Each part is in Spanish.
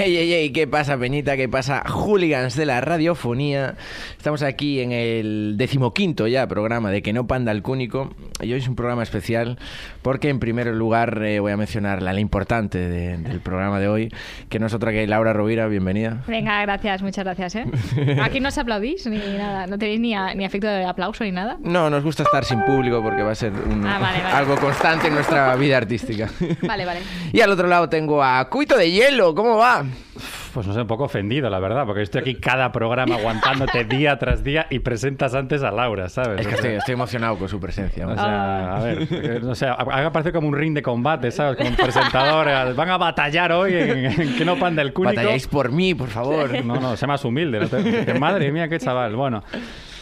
Ey, ey, ey, ¿qué pasa, Peñita? ¿Qué pasa, hooligans de la radiofonía? Estamos aquí en el decimoquinto ya programa de Que no panda el cúnico. Y hoy es un programa especial porque, en primer lugar, eh, voy a mencionar la la importante de- del programa de hoy, que no es otra que Laura Rovira. Bienvenida. Venga, gracias, muchas gracias, ¿eh? Aquí no os aplaudís ni nada, no tenéis ni, a- ni afecto de aplauso ni nada. No, nos gusta estar sin público porque va a ser un- Ah, vale, vale. algo constante en nuestra vida artística. Vale, vale. Y al otro lado tengo a Cuito de Hielo. ¿Cómo va? Pues no sé, un poco ofendido, la verdad, porque estoy aquí cada programa aguantándote día tras día y presentas antes a Laura, ¿sabes? Es que O estoy, sea, estoy emocionado con su presencia. o sea, a ver, que- o sea, haga parecer como un ring de combate, ¿sabes? Como un presentador, eh, van a batallar hoy en, en que no panda el cúnico. Batalláis por mí, por favor. No, no, sea más humilde. no te- que madre mía, qué chaval. Bueno,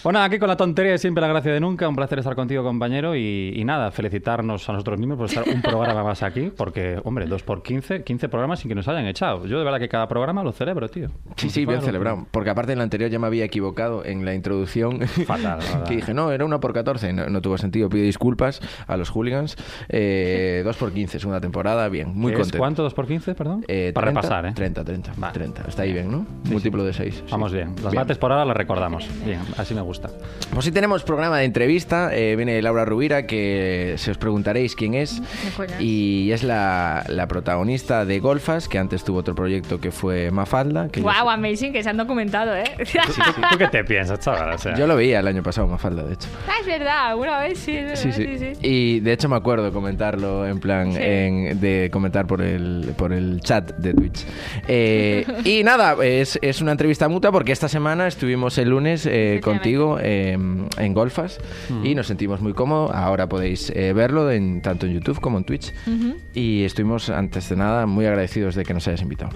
bueno, aquí con la tontería de siempre la gracia de nunca. Un placer estar contigo, compañero. Y, y nada, felicitarnos a nosotros mismos por estar un programa más aquí. Porque, hombre, dos por 15, 15 programas sin que nos hayan echado. Yo de verdad que cada programa lo celebro, tío. Sí, sí, bien celebrado. Porque aparte en la anterior ya me había equivocado en la introducción. Fatal, la verdad. que dije, no, era una por 14. No, no tuvo sentido. Pido disculpas a los hooligans. Eh, dos por 15, segunda temporada. Bien, muy ¿Es contento. ¿Cuánto? ¿Dos por 15, perdón? Eh, Para 30, repasar, ¿eh? 30, 30, Vale. 30. Está ahí bien, ¿no? Múltiplo de 6. Vamos bien. Las mates por ahora las recordamos. Bien, así me gusta. Pues sí tenemos programa de entrevista. Eh, viene Laura Rubira, que se os preguntaréis quién es. coño es? Y es la, la protagonista de Golfas, que antes tuvo otro proyecto que fue Mafalda. Que yo- Wow, amazing, que se han documentado, ¿eh? ¿Tú, tú qué te piensas, chaval? O sea, yo lo veía el año pasado, Mafalda, de hecho. Ah, es verdad, una vez sí, es Sí, verdad, sí. Y de hecho me acuerdo comentarlo en plan Sí. en- de comentar por el, por el chat de Twitch. Eh, y nada, es, es una entrevista mutua porque esta semana estuvimos el lunes eh, Efectivamente. contigo eh, en Golfas y nos sentimos muy cómodos. Ahora podéis eh, verlo en, tanto en YouTube como en Twitch. Y estuvimos antes de nada muy agradecidos de que nos hayas invitado.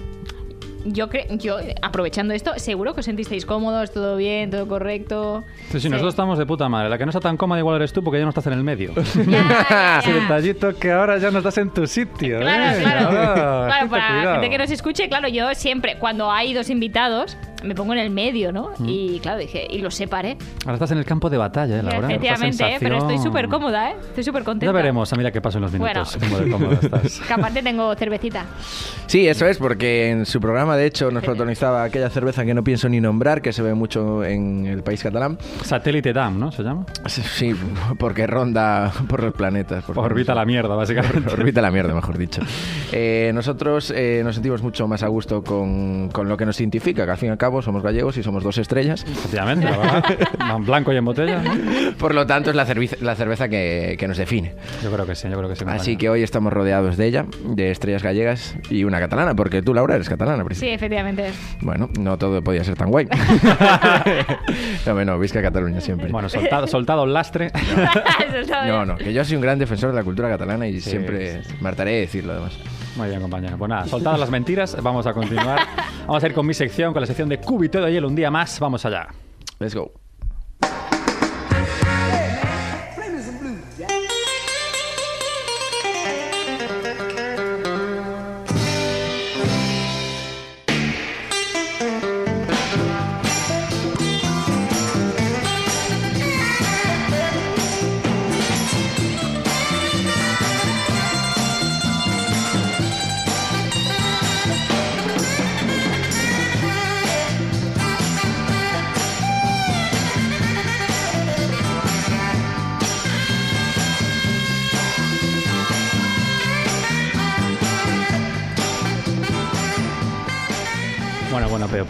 Yo, cre- yo, eh, aprovechando esto, seguro que os sentisteis cómodos, todo bien, todo correcto. Sí, sí, Pues nosotros estamos de puta madre. La que no está tan cómoda igual eres tú porque ya no estás en el medio. Ya, Ese ya, ya. detallito que ahora ya no estás en tu sitio, Claro, ¿eh? claro. Ahora, Claro, gente, para la cuidado. gente que nos escuche, claro, yo siempre, cuando hay dos invitados, me pongo en el medio, ¿no? Y claro, dije, y los separé. Ahora estás en el campo de batalla, ¿eh, Laura? Efectivamente, ¿eh? Esta pero estoy sensación. súper cómoda, ¿eh? Estoy súper Ya contenta. veremos, a mira qué pasa en los minutos. Bueno. Cómo de cómoda estás. Que aparte tengo cervecita. Sí, eso es, porque en su programa, de hecho, nos protagonizaba aquella cerveza que no pienso ni nombrar, que se ve mucho en el país catalán. Satélite DAM, ¿no? ¿Se llama? Sí, Sí, porque ronda por los planetas. por- Orbita la mierda, básicamente. Orbita la mierda, mejor dicho. Eh, nosotros eh, nos sentimos mucho más a gusto con, con lo que nos identifica, que al fin y al cabo somos gallegos y somos dos estrellas. Efectivamente, la verdad. En blanco y en botella. Por lo tanto, es la, cerviz- la cerveza que, que nos define. Yo creo que sí, yo creo que Así sí. compañero. que hoy estamos rodeados de ella, de estrellas gallegas y una catalana, porque tú, Laura, eres catalana. Sí, principio. efectivamente. Bueno, no todo podía ser tan guay. no, no, Visca Cataluña siempre. Bueno, soltado, soltado el lastre. Eso está bien. No, no, que yo soy un gran defensor de la cultura catalana y Sí, siempre sí, me hartaré de decirlo además. Muy bien, compañero. Pues nada, soltadas las mentiras, vamos a continuar. Vamos a ir con mi sección, con la sección de Cúbito de Hielo. Un día más, vamos allá. Let's go. Bueno, bueno,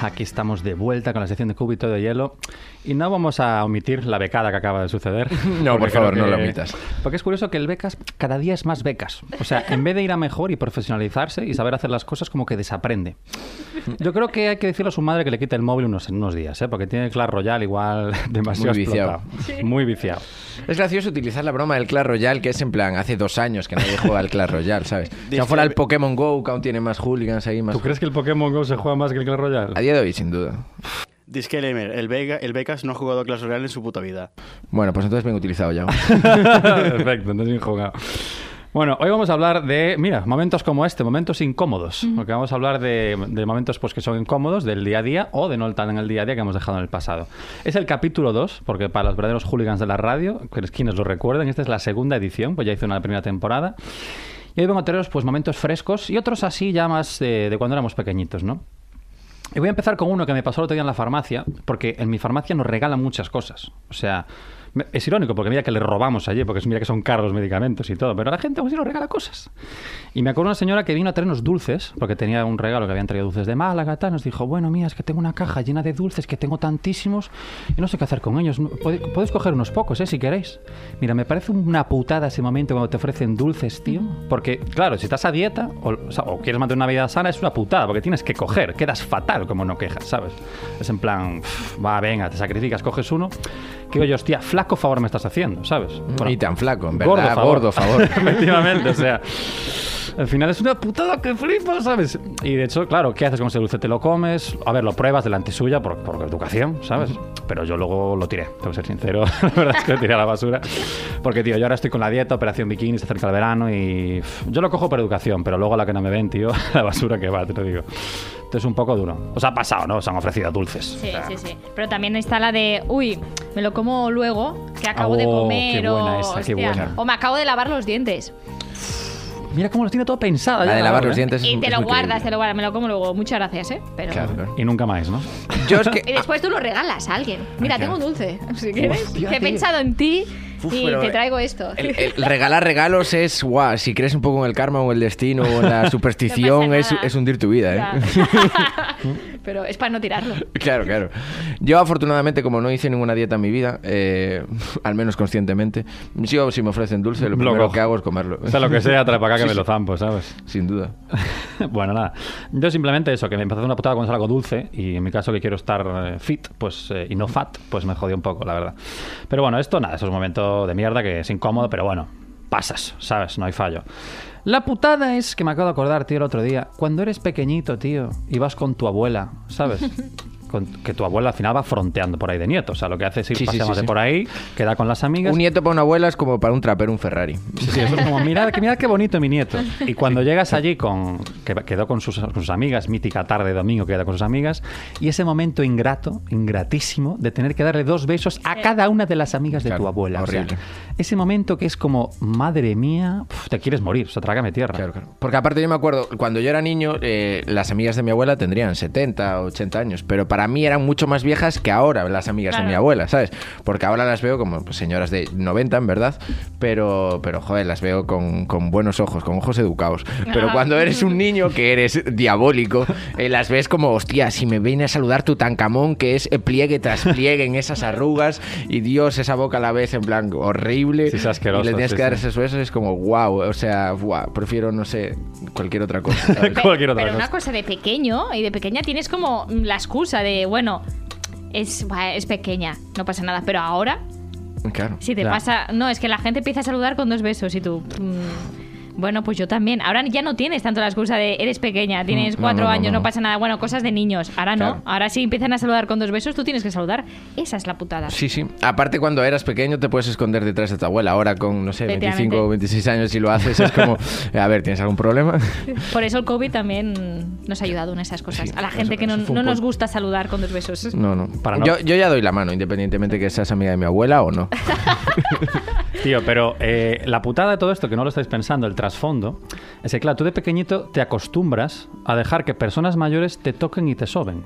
aquí estamos de vuelta con la sección de cúbito de hielo y no vamos a omitir la becada que acaba de suceder. No, por porque favor, creo no la que- omitas. Porque es curioso que el becas cada día es más becas. O sea, en vez de ir a mejor y profesionalizarse y saber hacer las cosas, como que desaprende. Yo creo que hay que decirle a su madre que le quite el móvil unos, unos días, ¿eh? porque tiene el Clash Royale igual demasiado Muy viciado. explotado. Muy viciado. Es gracioso utilizar la broma del Clash Royale, que es en plan, hace dos años que nadie juega al Clash Royale, ¿sabes? Si no fuera el Pokémon GO, que aún tiene más hooligans ahí, más... ¿Tú crees que el Pokémon GO se juega más que el Clash Royale? A día de hoy, sin duda. Disclaimer, el, Vega, el Becas no ha jugado a Clash Royale en su puta vida. Bueno, pues entonces bien utilizado ya. Perfecto, entonces bien jugado. Bueno, hoy vamos a hablar de, mira, momentos como este, momentos incómodos. Porque vamos a hablar de, de momentos pues, que son incómodos del día a día o de no tan en el día a día que hemos dejado en el pasado. Es el capítulo 2, porque para los verdaderos hooligans de la radio, que es quienes lo recuerden, esta es la segunda edición, pues ya hice una primera temporada. Y hoy vengo a traeros pues, momentos frescos y otros así ya más de, de cuando éramos pequeñitos, ¿no? Y voy a empezar con uno que me pasó el otro día en la farmacia, porque en mi farmacia nos regalan muchas cosas. O sea, me- es irónico, porque mira que le robamos allí, porque es- mira que son caros los medicamentos y todo, pero la gente pues sí nos regala cosas. Y me acuerdo una señora que vino a traernos dulces, porque tenía un regalo que habían traído dulces de Málaga, tal, nos dijo, bueno, mira, es que tengo una caja llena de dulces, que tengo tantísimos, y no sé qué hacer con ellos. No- pode- Podéis coger unos pocos, ¿eh? Si queréis. Mira, me parece una putada ese momento cuando te ofrecen dulces, tío, porque, claro, si estás a dieta o, o sea, o quieres mantener una vida sana, es una putada, porque tienes que coger, quedas fatal como no quejas, ¿sabes? Es en plan, "Pff, va, venga, te sacrificas, coges uno, que oye, hostia, flaco favor me estás haciendo, ¿sabes? Bueno, Mm. Ni tan flaco, en Gordo verdad. favor. Gordo, favor. Efectivamente, o sea. Al final es una putada que flipas, ¿sabes? Y de hecho, claro, ¿qué haces con ese dulce? Te lo comes, a ver, lo pruebas delante suya por, por educación, ¿sabes? Pero yo luego lo tiré, tengo que ser sincero, la verdad es que lo tiré a la basura. Porque, tío, yo ahora estoy con la dieta, operación bikini, se acerca el verano y pff, yo lo cojo por educación, pero luego a la que no me ven, tío, la basura que va, te lo digo. Entonces, un poco duro. Os ha pasado, ¿no? Os han ofrecido dulces. Sí, O sea, sí, sí. Pero también está la de, uy, me lo como luego, que acabo de Oh, comer. qué buena o, esa, qué hostia, buena. o me acabo de lavar los dientes. Mira cómo los tiene todo pensado. La de lavar los dientes es Y un- te es lo muy guardas, te creíble. lo guardas, me lo como luego. Muchas gracias, ¿eh? Pero... Claro. Y nunca más, ¿no? Yo es Y que... después tú lo regalas a alguien. Ah, Mira, tengo un dulce, si quieres. Hostia, que he tío. pensado en ti Uf, y pero, te eh, traigo esto. El, el regalar regalos es, guau, si crees un poco en el karma o el destino o en la No superstición, pasa es, nada. es hundir tu vida, ¿eh? Ya. pero es para no tirarlo. Claro, claro. Yo afortunadamente, como no hice ninguna dieta en mi vida, eh, al menos conscientemente, yo si me ofrecen dulce, lo Lo primero cojo. que hago es comerlo. O sea, lo que sea, trae para acá que me lo zampo, ¿sabes? Sin duda. bueno, nada. Yo simplemente eso, que me empezó a hacer una putada cuando es algo dulce y en mi caso que quiero estar eh, fit pues eh, y no fat, pues me jodió un poco, la verdad. Pero bueno, esto nada, eso es un momento de mierda que es incómodo, pero bueno, pasas, ¿sabes? No hay fallo. La putada es que me acabo de acordar, tío, el otro día, cuando eres pequeñito, tío, y vas con tu abuela, ¿sabes? Con- que tu abuela al final va fronteando por ahí de nieto. O sea, lo que hace es ir Sí, sí, sí, paseándose sí. por ahí, queda con las amigas. Un nieto para una abuela es como para un trapero un Ferrari. Sí, sí, eso es como, mirad, que- mirad qué bonito mi nieto. Y cuando llegas allí, con, que quedó con sus, con sus amigas, mítica tarde de domingo, queda con sus amigas, y ese momento ingrato, ingratísimo, de tener que darle dos besos a cada una de las amigas de Claro, tu abuela. O sea, horrible. ese momento que es como, madre mía, uf, te quieres morir, o sea, trágame tierra. Claro, claro. Porque aparte yo me acuerdo, cuando yo era niño, eh, las amigas de mi abuela tendrían 70, 80 años, pero para mí eran mucho más viejas que ahora las amigas de Claro. mi abuela, ¿sabes? Porque ahora las veo como pues, señoras de 90, en verdad, pero, pero joder, las veo con, con buenos ojos, con ojos educados. Pero Ajá. cuando eres un niño que eres diabólico, eh, las ves como, hostia, si me viene a saludar tu tancamón, que es eh, pliegue tras pliegue en esas arrugas, y Dios, esa boca la ves en plan horrible, Sí, es asqueroso, y le tienes sí, que dar sí. ese eso, eso es como wow, o sea, wow, prefiero, no sé, cualquier otra cosa. ¿sabes? Pe- Cualquier otra pero cosa. una cosa de pequeño y de pequeña tienes como la excusa de, bueno, es, buah, es pequeña, no pasa nada. Pero ahora, claro. si te Claro. pasa. No, es que la gente empieza a saludar con dos besos y tú. mm, bueno, pues yo también. Ahora ya no tienes tanto la excusa de eres pequeña, tienes Mm, no, cuatro no, no, años, no, no. pasa nada. Bueno, cosas de niños. Ahora Claro. no. Ahora sí empiezan a saludar con dos besos, tú tienes que saludar. Esa es la putada. Sí, sí. Aparte, cuando eras pequeño te puedes esconder detrás de tu abuela. Ahora con, no sé, 25 o 26 años si lo haces es como, a ver, ¿tienes algún problema? Por eso el COVID también nos ha ayudado en esas cosas. Sí, a la gente eso- que no, eso fue un no nos punto. gusta saludar con dos besos. No, no. Para no- Yo, yo ya doy la mano, independientemente que seas amiga de mi abuela o no. Tío, pero eh, la putada de todo esto, que no lo estáis pensando, el trasfondo, es que, claro, tú de pequeñito te acostumbras a dejar que personas mayores te toquen y te soben.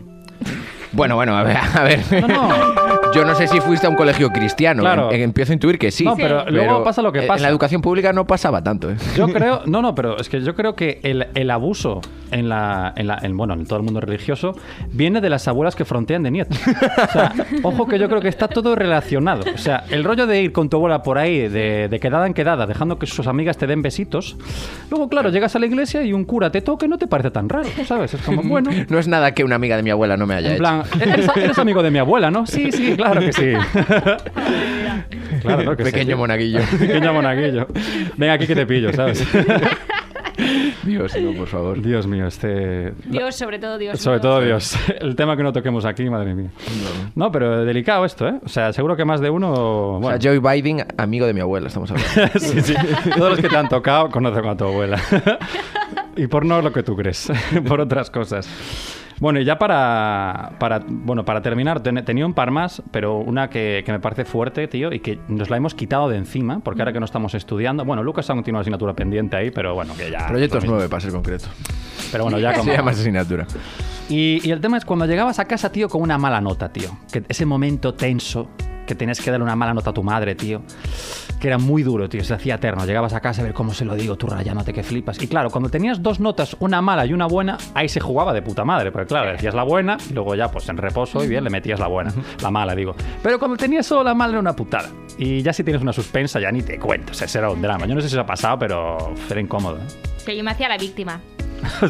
Bueno, bueno, a ver. A ver. No, no. Yo no sé si fuiste a un colegio cristiano. Claro. Em- empiezo a intuir que sí. No, pero luego pasa lo que en pasa. la educación pública no pasaba tanto, ¿eh? Yo creo, no, no, pero es que yo creo que el, el abuso en la, en la- en, bueno, en todo el mundo religioso, viene de las abuelas que frontean de nietos. O sea, ojo que yo creo que está todo relacionado. O sea, el rollo de ir con tu abuela por ahí, de, de quedada en quedada, dejando que sus amigas te den besitos. Luego, claro, llegas a la iglesia y un cura te toca y no te parece tan raro, ¿sabes? Es como, bueno. No es nada que una amiga de mi abuela no me haya En hecho. plan, eres, eres amigo de mi abuela, ¿no? Sí, sí, claro que sí. Claro, claro que sí. Pequeño monaguillo. Pequeño monaguillo. Venga aquí que te pillo, ¿sabes? Dios, no, por favor. Dios mío, este... Dios, sobre todo Dios. Sobre todo Dios. El tema que no toquemos aquí, madre mía. No, pero delicado esto, ¿eh? O sea, seguro que más de uno... Bueno, O sea, Joe Biden, amigo de mi abuela, estamos hablando. sí, sí. Todos los que te han tocado conocen a tu abuela. y por no lo que tú crees, por otras cosas. Bueno, y ya para, para, bueno, para terminar, ten- tenía un par más, pero una que, que me parece fuerte, tío, y que nos la hemos quitado de encima, porque ahora que no estamos estudiando, bueno, Lucas aún tiene una asignatura pendiente ahí, pero bueno, que ya... Proyectos lo mismo. 9, para ser concreto. Pero bueno, ya como... Se llama asignatura. Y, y el tema es cuando llegabas a casa, tío, con una mala nota, tío. Que ese momento tenso que tenías que darle una mala nota a tu madre, tío. Que era muy duro, tío. Se hacía eterno. Llegabas a casa a ver cómo se lo digo, tú rayándote que flipas. Y claro, cuando tenías dos notas, una mala y una buena, ahí se jugaba de puta madre. Porque claro, decías la buena y luego ya, pues en reposo y bien, le metías la buena. La mala, digo. Pero cuando tenías solo la mala era una putada. Y ya si tienes una suspensa, ya ni te cuento. O sea, ese era un drama. Yo no sé si eso ha pasado, pero era incómodo. ¿eh? Que yo me hacía la víctima.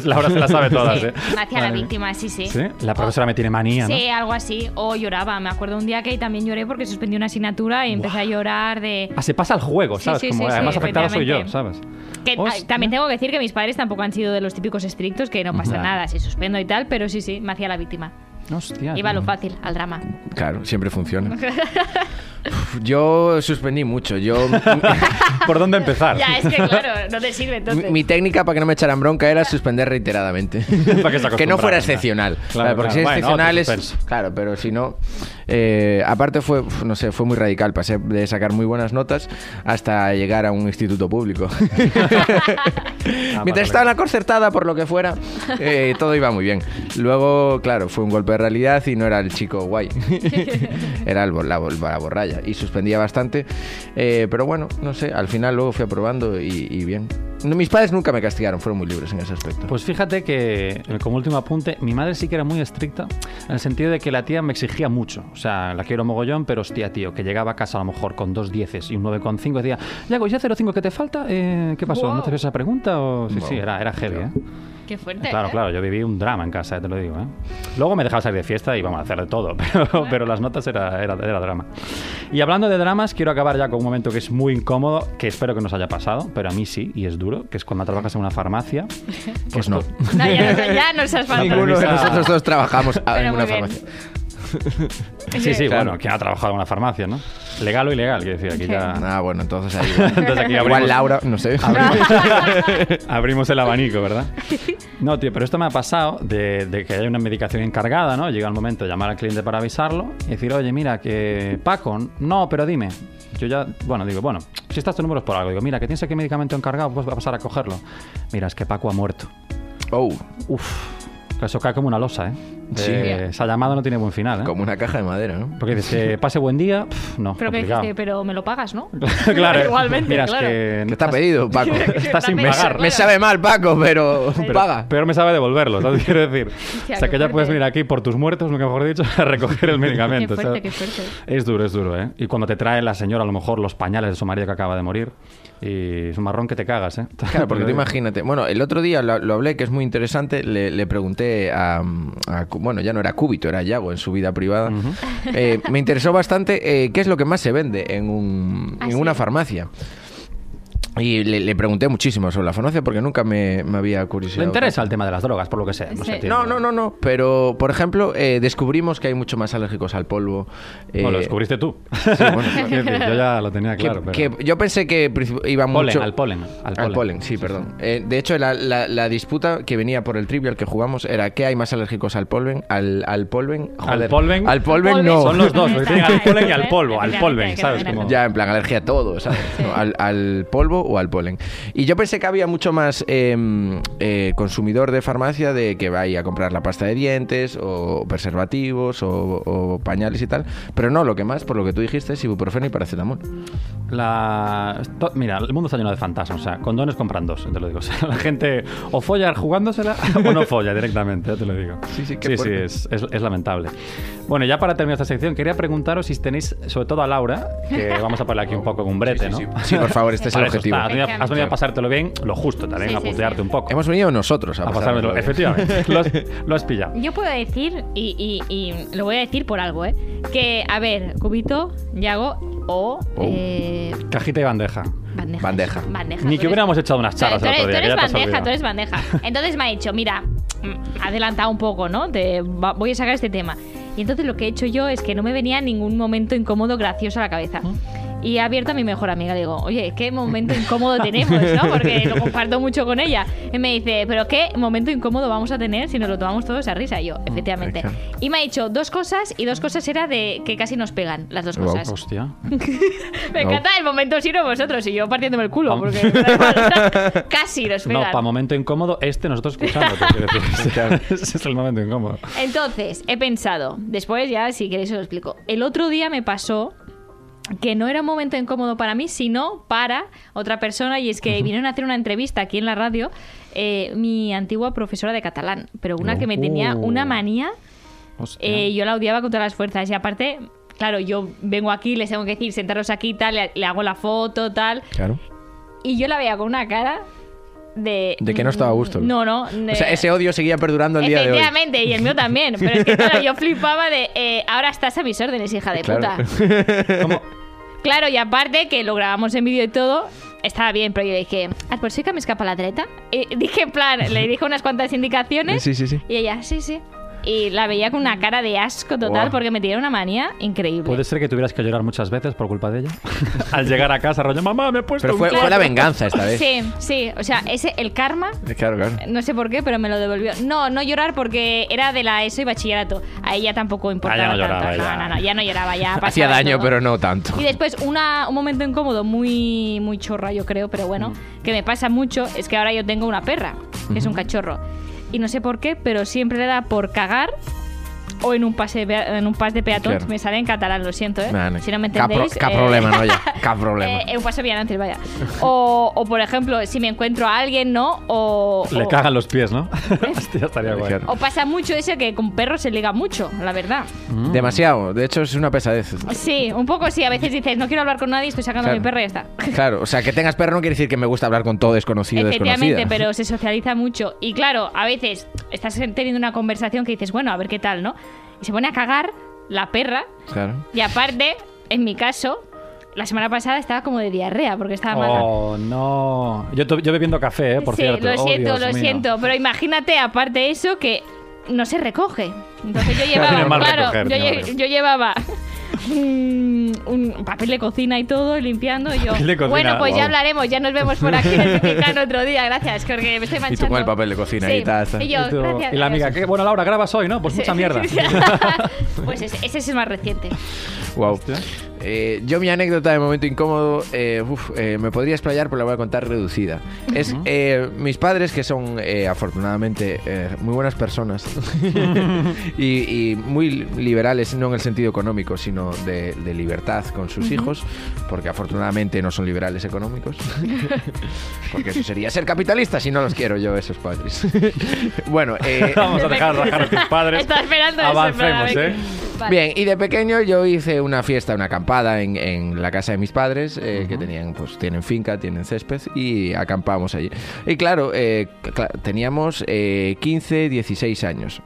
Laura se la sabe todas, Sí, ¿eh? me hacía la Madre mía. víctima, sí, sí. Sí, la profesora me tiene manía, ¿no? Sí, algo así. O lloraba. Me acuerdo un día que también lloré porque suspendí una asignatura y empecé a llorar de... Ah, se pasa al juego, Sí, ¿sabes? sí, Como, sí, sí, además afectado soy yo, ¿sabes? efectivamente. Que, ah, Hostia. también tengo que decir que mis padres tampoco han sido de los típicos estrictos, que no pasa Claro. nada, si suspendo y tal, pero sí, sí, me hacía la víctima. Hostia. Iba a lo tío. fácil, al drama. Claro, siempre funciona. Uf, Yo suspendí mucho. Yo ¿Por dónde empezar? Ya, es que claro, no te sirve Mi, entonces. mi técnica para que no me echaran bronca era suspender reiteradamente. Para que se que no fuera acostumbraran, excepcional. claro. ¿sabes? Claro, porque si claro. es Bueno, excepcional otro es- suspenso. Claro, pero si no. eh, aparte fue, uf, no sé, fue muy radical. Pasé de sacar muy buenas notas hasta llegar a un instituto público. vale. Mientras estaba en la concertada, por lo que fuera, eh, todo iba muy bien. Luego, claro, fue un golpe de realidad y no era el chico guay. era el, bo- la, bo- la borralla. Y suspendía bastante. Eh, pero bueno, no sé, al final luego fui aprobando y, y bien. No, mis padres nunca me castigaron, fueron muy libres en ese aspecto. Pues fíjate que, eh, como último apunte, mi madre sí que era muy estricta, en el sentido de que la tía me exigía mucho. O sea, la quiero mogollón, pero hostia, tío, que llegaba a casa a lo mejor con dos dieces y un 9,5, decía, Yago, ¿ya 0,5 que te falta? Eh, ¿Qué pasó? ¿No te esa pregunta? O... Sí, sí, era, era heavy, ¿eh? Qué fuerte. Claro, ¿eh? claro, yo viví un drama en casa, eh, te lo digo. ¿eh? Luego me dejaba salir de fiesta y vamos a hacer de todo, pero, pero las notas era, era, era drama. Y hablando de dramas, quiero acabar ya con un momento que es muy incómodo, que espero que nos haya pasado, pero a mí sí, y es duro, que es cuando trabajas en una farmacia. Pues no. No, ya, no- ya nos has faltado. Ninguno de premisa- nosotros dos trabajamos a- Pero en muy una bien. farmacia. Sí, sí, Claro. bueno, quien ha trabajado en una farmacia, ¿no? Legal o ilegal, quiero decir, aquí ya... Ah, bueno, entonces ahí. igual. Entonces aquí Igual abrimos- Laura, no sé. Abrimos el abanico, ¿verdad? No, tío, pero esto me ha pasado de, de que hay una medicación encargada, ¿no? Llega el momento de llamar al cliente para avisarlo y decir, oye, mira, que Paco, no, pero dime. Yo ya, bueno, digo, bueno, si estás tu número es por algo. Digo, mira, que tienes aquí medicamento encargado, pues va a pasar a cogerlo. Mira, es que Paco ha muerto. Oh, Uf, eso cae como una losa, ¿eh? Sí. Eh, Esa llamada no tiene buen final, ¿eh? como una caja de madera, ¿no? Porque dices, que pase buen día, pf, no, Pero que complicado. dijiste, pero me lo pagas, ¿no? claro, Igualmente, mira, es claro. que ¿Qué te ha pedido, Paco? Está sin Me- pagar. Me sabe mal, Paco, pero paga. Peor me sabe devolverlo, ¿sabes? Quiero decir. Hostia, o sea, qué que ya fuerte. puedes venir aquí por tus muertos, nunca mejor dicho, a recoger el medicamento. Qué fuerte, ¿sabes? qué fuerte. Es duro, es duro, ¿eh? Y cuando te trae la señora, a lo mejor, los pañales de su marido que acaba de morir. Y es un marrón que te cagas, ¿eh? Claro, porque tú imagínate. Bueno, el otro día lo, lo hablé, que es muy interesante. Le, le pregunté a, a Cu- Bueno, ya no era Cúbito, era Yago en su vida privada. Eh, me interesó bastante eh, qué es lo que más se vende en, un- Ah, en sí. una farmacia. Y le, le pregunté muchísimo sobre la farmacia porque nunca me, me había curiosidad. Le interesa el tema de las drogas, por lo que sea. No, Sí. sé, tío. No, no, no, no. Pero, por ejemplo, eh, descubrimos que hay mucho más alérgicos al polvo. eh, Bueno, lo descubriste tú. bueno, Quiero decir, yo ya lo tenía que- Ah, claro. pero- que yo pensé que princip- iba Polen, mucho... al polen, al polen. sí, perdón. Eh, de hecho, la, la- la disputa que venía por el trivial que jugamos era ¿qué hay más alérgicos al polven? Al, al polven... Al joder, polven. Al polven no. Son los dos, porque Está tienen al claro, polen y al ¿eh? polvo, al polven, Efectivamente, ¿sabes? claro. Como- Ya, en plan, alergia a todo, ¿sabes? No, al, al polvo o al polen. Y yo pensé que había mucho más em, eh, consumidor de farmacia de que vaya a comprar la pasta de dientes o preservativos o, o pañales y tal, pero no, lo que más, por lo que tú dijiste, es ibuprofeno y paracetamol. La... to- Mira, el mundo está lleno de fantasmas. O sea, condones compran dos, te lo digo. O sea, la gente o folla jugándosela o no folla directamente, ya te lo digo. Sí, sí, qué fuerte. es, es- es lamentable. Bueno, ya para terminar esta sección, quería preguntaros si tenéis, sobre todo a Laura, que vamos a ponerle aquí un poco con brete, Sí, sí, ¿no? sí. Sí, por favor, este es el Para eso objetivo. está, has venido- has venido a pasártelo bien, lo justo también, Sí, a sí, putearte sí. un poco. Hemos venido nosotros a, a pasármelo pasármelo, bien. efectivamente. lo, has, lo has pillado. Yo puedo decir, y, y- y lo voy a decir por algo, ¿eh? Que, a ver, cubito, yago o Oh. eh, Cajita y bandeja. bandeja. Bandeja. Bandeja, Ni tú que eres- hubiéramos echado unas Tú eres, charlas el otro día. tú que eres ya te has bandeja, olvidado. tú eres bandeja. Entonces me ha dicho, mira, mm, adelanta un poco, ¿no? Te va- voy a sacar este tema. Y entonces lo que he hecho yo es que no me venía ningún momento incómodo gracioso a la cabeza. Y he abierto a mi mejor amiga. Digo, oye, ¿qué momento incómodo tenemos, no? Porque lo comparto mucho con ella. Y me dice, ¿pero qué momento incómodo vamos a tener si nos lo tomamos todos a risa? Y yo, efectivamente. claro. Y me ha dicho dos cosas y dos cosas era de que casi nos pegan, las dos Wow. cosas. Hostia. Me No. encanta el momento sino vosotros y yo partiéndome el culo, Pam. porque me da igual. casi los No, pegan. para momento incómodo, este nosotros escuchando. te quiero decir. Ese es el momento incómodo. Entonces, he pensado, después ya si queréis os lo explico. El otro día me pasó que no era un momento incómodo para mí, sino para otra persona, y es que vinieron a hacer una entrevista aquí en la radio eh, mi antigua profesora de catalán, pero una que me tenía Oh. una manía, eh, yo la odiaba con todas las fuerzas, y aparte, claro, yo vengo aquí, les tengo que decir, sentaros aquí, tal, le- le hago la foto, tal, Claro. Y yo la veía con una cara de. De que no estaba a gusto. No, no. de- O sea, ese odio seguía perdurando el día de hoy. Eh, Efectivamente, y el mío también. Pero es que, claro, yo flipaba de. eh, ahora estás a mis órdenes, hija de Claro. puta. ¿Cómo? Claro, y aparte que lo grabamos en vídeo y todo. Estaba bien, pero yo dije, ¿ah, por si que me escapa la treta? Y dije, en plan, le dije unas cuantas indicaciones. Sí, sí, sí. Y ella, sí, sí. Y la veía con una cara de asco total Buah. porque me tenía una manía increíble. ¿Puede ser que tuvieras que llorar muchas veces por culpa de ella? Al llegar a casa, rollo, mamá, me he puesto Pero un fue, culo". fue la venganza esta vez. Sí, sí. O sea, ese, el karma Eh, Claro, claro. No sé por qué, pero me lo devolvió. No, no llorar porque era de la ESO y bachillerato. A ella tampoco importaba. Ah, ya no tanto. lloraba, No, ya. no, no, ya no lloraba, ya Hacía pasaba daño, todo. pero no tanto. Y después una- un momento incómodo, muy, muy chorra, yo creo, pero bueno, Mm. que me pasa mucho, es que ahora yo tengo una perra, que es un cachorro. Y no sé por qué, pero siempre le da por cagar o en un pase de- en un pas de peatón. Claro. Me sale en catalán, lo siento, ¿eh? Nah, no. Si no me Ca pro- entendéis. ca eh, problema, no, ya. Ca problema. eh, eh, un paso bien antes, vaya. O, o, por ejemplo, si me encuentro a alguien, ¿no? O, Le o- cagan los pies, ¿no? Hostia, estaría guay. Claro. o pasa mucho eso que con perros se liga mucho, la verdad. Mm. Demasiado. De hecho, es una pesadez. Sí, un poco sí. A veces dices, no quiero hablar con nadie, estoy sacando Claro. a mi perro y ya está. Claro, o sea, que tengas perro no quiere decir que me gusta hablar con todo desconocido o Efectivamente, desconocida. pero se socializa mucho. Y claro, a veces estás teniendo una conversación que dices, bueno, a ver qué tal, ¿no? Y se pone a cagar la perra. Claro. Y aparte, en mi caso, la semana pasada estaba como de diarrea porque estaba mal. Oh, no. Yo, to- yo bebiendo café, ¿eh? por Ah, sí, cierto. lo Oh, siento, Dios lo mío. siento. Pero imagínate, aparte eso, que no se recoge. Entonces yo Tiene llevaba, mal claro, recoger, yo, tiene mal lle- recoger. yo llevaba un, un papel de cocina y todo, y limpiando. Y yo, Papel de cocina, bueno, pues wow. ya hablaremos, ya nos vemos por aquí en el Titican otro día, gracias, porque me estoy manchando. con el papel de cocina Sí, y tal, tal. Y yo, Y tú- gracias. y la amiga, adiós". ¿qué? bueno, Laura, grabas hoy, ¿no? Pues mucha mierda. pues ese, ese es el más reciente. Wow. Hostia. Eh, yo mi anécdota de momento incómodo, eh, uf, eh, me podría explayar, pero la voy a contar reducida. Es eh, mis padres, que son eh, afortunadamente eh, muy buenas personas y, y muy liberales, no en el sentido económico, sino de, de libertad con sus hijos, porque afortunadamente no son liberales económicos, porque eso sería ser capitalista si no los quiero yo, esos padres. bueno, eh, Vamos a dejar rajar a tus padres. Estaba esperando eso, Avancemos, para ver ¿eh? qué- Vale. Bien, y de pequeño yo hice una fiesta, una acampada en, en la casa de mis padres, eh, que tenían, pues tienen finca, tienen césped, y acampamos allí. Y claro, eh, cla- teníamos eh, 15, 16 años.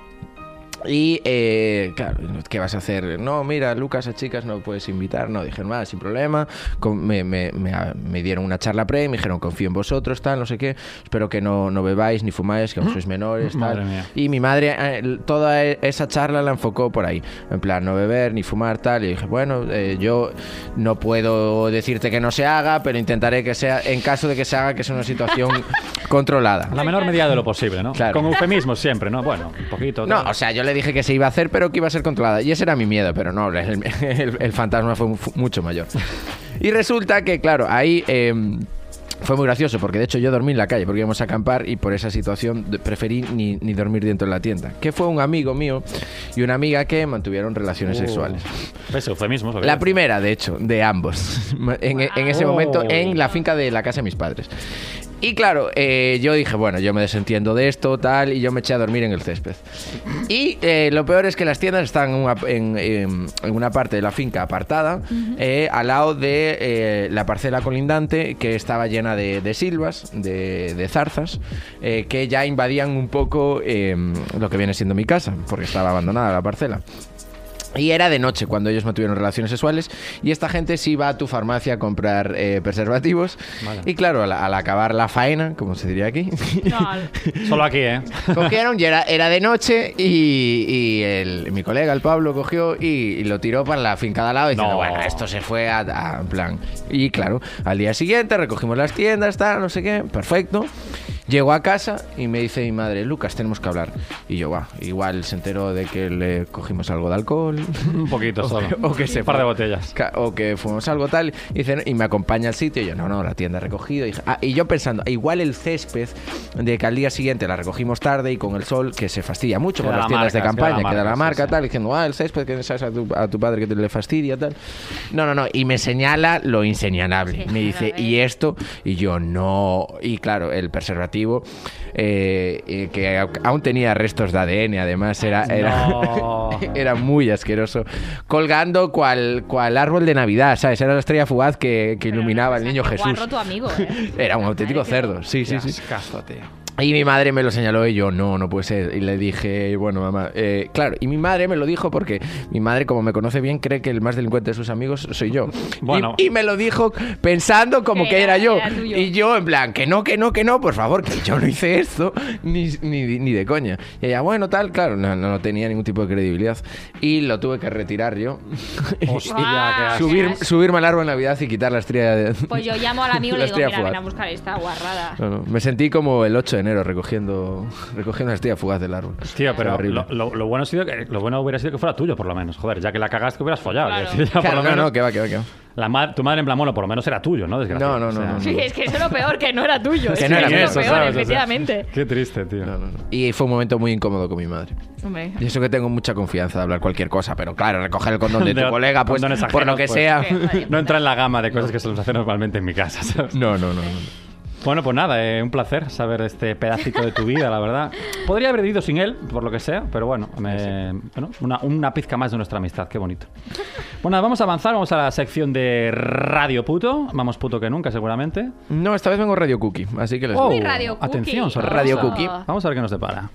Y eh, claro, ¿qué vas a hacer? No, mira, Lucas, a chicas no puedes invitar. No, dijeron, nada, sin problema. Con- me, me- me- a- me dieron una charla pre, me dijeron, confío en vosotros, tal, no sé qué. Espero que no, no bebáis ni fumáis, que aún sois menores, tal. Madre mía. Y mi madre eh, l- toda e- esa charla la enfocó por ahí. En plan, no beber ni fumar, tal. Y dije, bueno, eh, yo no puedo decirte que no se haga, pero intentaré que sea, en caso de que se haga, que es una situación controlada. La menor medida de lo posible, ¿no? Claro. Con eufemismos siempre, ¿no? Bueno, un poquito. No, tal. o sea, yo le dije que se iba a hacer, pero que iba a ser controlada. Y ese era mi miedo, pero no, el, el- el fantasma fue mu- mucho mayor. Y resulta que, claro, ahí... eh, Fue muy gracioso porque de hecho yo dormí en la calle porque íbamos a acampar y por esa situación de- preferí ni, ni dormir dentro de la tienda. Que fue un amigo mío y una amiga que mantuvieron relaciones Uh. sexuales. Ves, eufemismos. La primera, de hecho, de ambos. En, en ese Wow. momento, en la finca de la casa de mis padres. Y claro, eh, yo dije, bueno, yo me desentiendo de esto, tal, y yo me eché a dormir en el césped. Y eh, lo peor es que las tiendas están en una, en- en- en una parte de la finca apartada, eh, al lado de eh, la parcela colindante que estaba llena de, de silvas, de, de zarzas, eh, que ya invadían un poco eh, lo que viene siendo mi casa, porque estaba abandonada la parcela. Y era de noche cuando ellos mantuvieron relaciones sexuales y esta gente sí iba a tu farmacia a comprar eh, preservativos. Vale. Y claro, al, al acabar la faena, como se diría aquí, Solo aquí, ¿eh? cogieron y era, era de noche y, y el- mi colega, el Pablo, cogió y, y lo tiró para la finca de al lado diciendo, No. bueno, esto se fue a, a- en plan. Y claro, al día siguiente recogimos las tiendas, tal, no sé qué, perfecto. Llego a casa y me dice mi madre, Lucas, tenemos que hablar. Y yo, va, igual se enteró de que le cogimos algo de alcohol. Un poquito solo. o que se Un par de fue. botellas. Ca- o que fuimos algo tal y, dicen, y me acompaña al sitio y yo no no la tienda ha recogido y, ah, y yo pensando igual el césped de que al día siguiente la recogimos tarde y con el sol que se fastidia mucho Queda con las la tiendas de marca, queda campaña queda la la marca, marca, sí, sí. tal diciendo ah el césped que sabes a tu, a tu padre que te le fastidia tal no no no y me señala lo inseñalable Sí, me dice claro, ¿eh? y esto y yo no y claro el preservativo eh, eh, que a- aún tenía restos de ADN además era, era No. era muy asqueroso. Colgando cual, cual árbol de Navidad, ¿sabes? Era la estrella fugaz que, que iluminaba al niño Jesús. tu amigo, ¿eh? Era un auténtico Madre, qué cerdo, loco. sí, sí, sí. Ascazo, tío. Y mi madre me lo señaló y yo, no, no puede ser. Y le dije, bueno, mamá, eh, claro. Y mi madre me lo dijo porque mi madre, como me conoce bien, cree que el más delincuente de sus amigos soy yo. Bueno. Y, y me lo dijo pensando como Que que era, era- yo. era tuyo. y yo, en plan, que no, que no, que no, por favor, que yo no hice esto, ni, ni, ni de coña. Y ella, bueno, tal, claro, no, no, no tenía ningún tipo de credibilidad. Y lo tuve que retirar yo. Hostia, qué Guau. asco. Subir, asco. subirme al árbol en Navidad y quitar la estrella de... Pues yo llamo al amigo y la le digo, estrella mira, ven fugaz". a buscar esta guarrada. No, no, Me sentí como el 8 de enero recogiendo, recogiendo la estrella fugaz del árbol. Tío, pero Horrible. lo, lo- lo bueno ha sido que, lo bueno hubiera sido que fuera tuyo, por lo menos. Joder, ya que la cagaste, hubieras follado. Claro. quiero decir, ya por Claro, lo no, menos, no, que va, que va, que va. la ma- tu madre, en plan, bueno, por lo menos era tuyo, ¿no? Desgraciado. No, no, no, no, no. Sí, es que eso es lo peor, que no era tuyo. Que es no era eso es mío, lo peor, ¿sabes? O sea, efectivamente. Qué triste, tío. No, no, no. Y fue un momento muy incómodo con mi madre. Hombre. Y eso que tengo mucha confianza de hablar cualquier cosa, pero claro, recoger el condón de De tu colega, pues condones por lo ajenos, que pues. sea. Sí. No entra en la gama de cosas que se nos hacen normalmente en mi casa, ¿sabes? No, no, no. no. Bueno, pues nada, eh, un placer saber este pedacito de tu vida, la verdad. Podría haber vivido sin él, por lo que sea, pero bueno, me- bueno, una, una pizca más de nuestra amistad, qué bonito. Bueno, vamos a avanzar, vamos a la sección de Radio Puto, más puto que nunca seguramente. No, esta vez vengo Radio Cookie, así que les Oh, doy. Radio Cookie. Atención, sorpresa. Radio Cookie. Vamos a ver qué nos depara.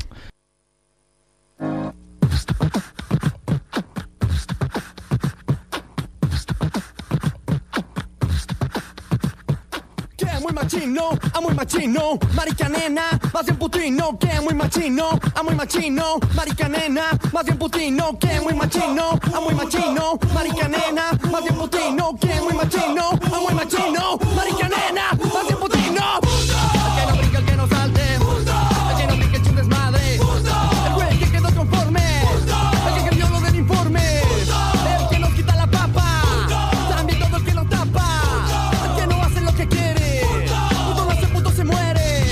Que muy machino, a muy machino, marica nena, más bien putino, que muy machino, a muy machino, marica nena, más bien putino, que muy machino, a muy machino, marica nena, más bien putino, que muy machino, a muy machino, marica nena, más bien putino. El que no brinca, el que no salte, el que no brinca, echa un desmadre, el güey que quedó conforme, el que creyó lo del informe, el que nos quita la papa, también todo el que nos tapa, el que no hace lo que quiere, puto no hace, puto se muere.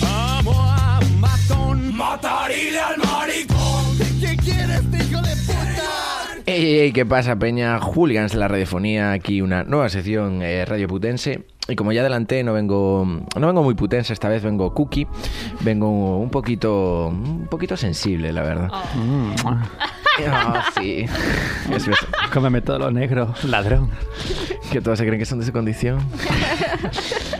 Vamos a un matón, matarile al maricón. ¿Qué quieres, hijo de puta? Ey, ey, ey, ¿qué pasa, Peña? Hooligans de la radiofonía, aquí una nueva sección eh, radio putense. Y como ya adelanté, no vengo, no vengo muy putense, esta vez vengo cookie. Vengo un poquito, un poquito sensible, la verdad. Mm. Ah, sí. Es verdad. Cómeme todo lo negro, ladrón. Que todos se creen que son de su condición.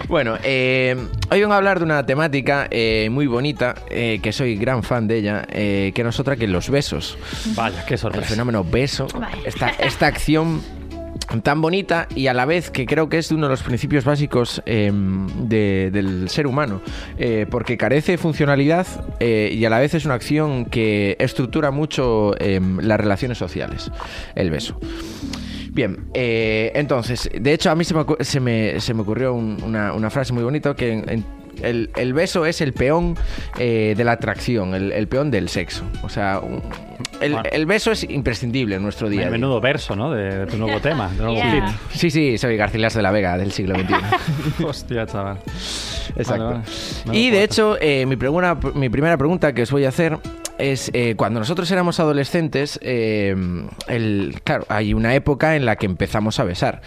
bueno, eh, hoy vengo a hablar de una temática eh, muy bonita, eh, que soy gran fan de ella, eh, que no es otra que los besos. Vaya, qué El sorpresa. fenómeno beso, esta, esta acción tan bonita y a la vez que creo que es uno de los principios básicos eh, de- del ser humano, eh, porque carece de funcionalidad eh, y a la vez es una acción que estructura mucho eh, las relaciones sociales, el beso. Bien, eh, entonces, de hecho a mí se me, ocu- se me- se me ocurrió un- una, una frase muy bonita que en- en- el, el beso es el peón eh, de la atracción, el, el peón del sexo. O sea, un- el, Bueno. el beso es imprescindible en nuestro día. a día. Menudo verso, ¿no? De, de tu nuevo tema, de nuevo Yeah. hit. Sí, sí, soy Garcilas de la Vega del siglo XXI. Hostia, chaval. Exacto. Vale, vale. Menudo Y de poeta. hecho, eh, mi, primera, mi primera pregunta que os voy a hacer es, eh, cuando nosotros éramos adolescentes, eh, el, claro, hay una época en la que empezamos a besar.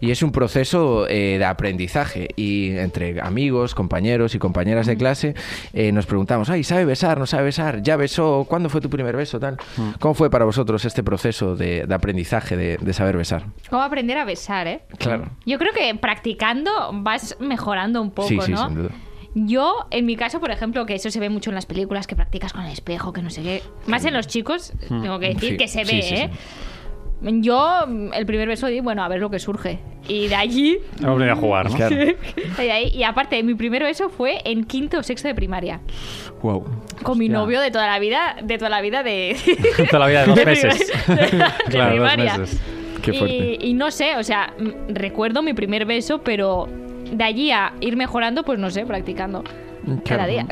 Y es un proceso eh, de aprendizaje. Y entre amigos, compañeros y compañeras de clase, eh, nos preguntamos, ay, ¿sabe besar? ¿No sabe besar? ¿Ya besó? ¿Cuándo fue tu primer beso? Tal. ¿Cómo fue para vosotros este proceso de, de aprendizaje de, de saber besar? ¿Cómo aprender a besar, eh? Claro. Yo creo que practicando vas mejorando un poco, sí, sí, ¿no? sin duda. Yo, en mi caso, por ejemplo, que eso se ve mucho en las películas, que practicas con el espejo, que no sé qué. Más en los chicos, tengo que Mm. decir Sí, que se sí, ve, sí, ¿eh? Yo, mm, el primer beso, di, bueno, a ver lo que surge. Y de allí, Hemos venido a jugar, ¿no? Claro. y, de ahí- y aparte, mi primer beso fue en quinto o sexto de primaria. Wow. Con mi Hostia. novio de toda la vida, de toda la vida de... Toda la vida de dos de meses. primaria. De claro, dos primaria. meses. Qué Y- fuerte. Y, no sé, o sea, mm, recuerdo mi primer beso, pero de allí a ir mejorando, pues no sé, practicando. Claro. Cada día.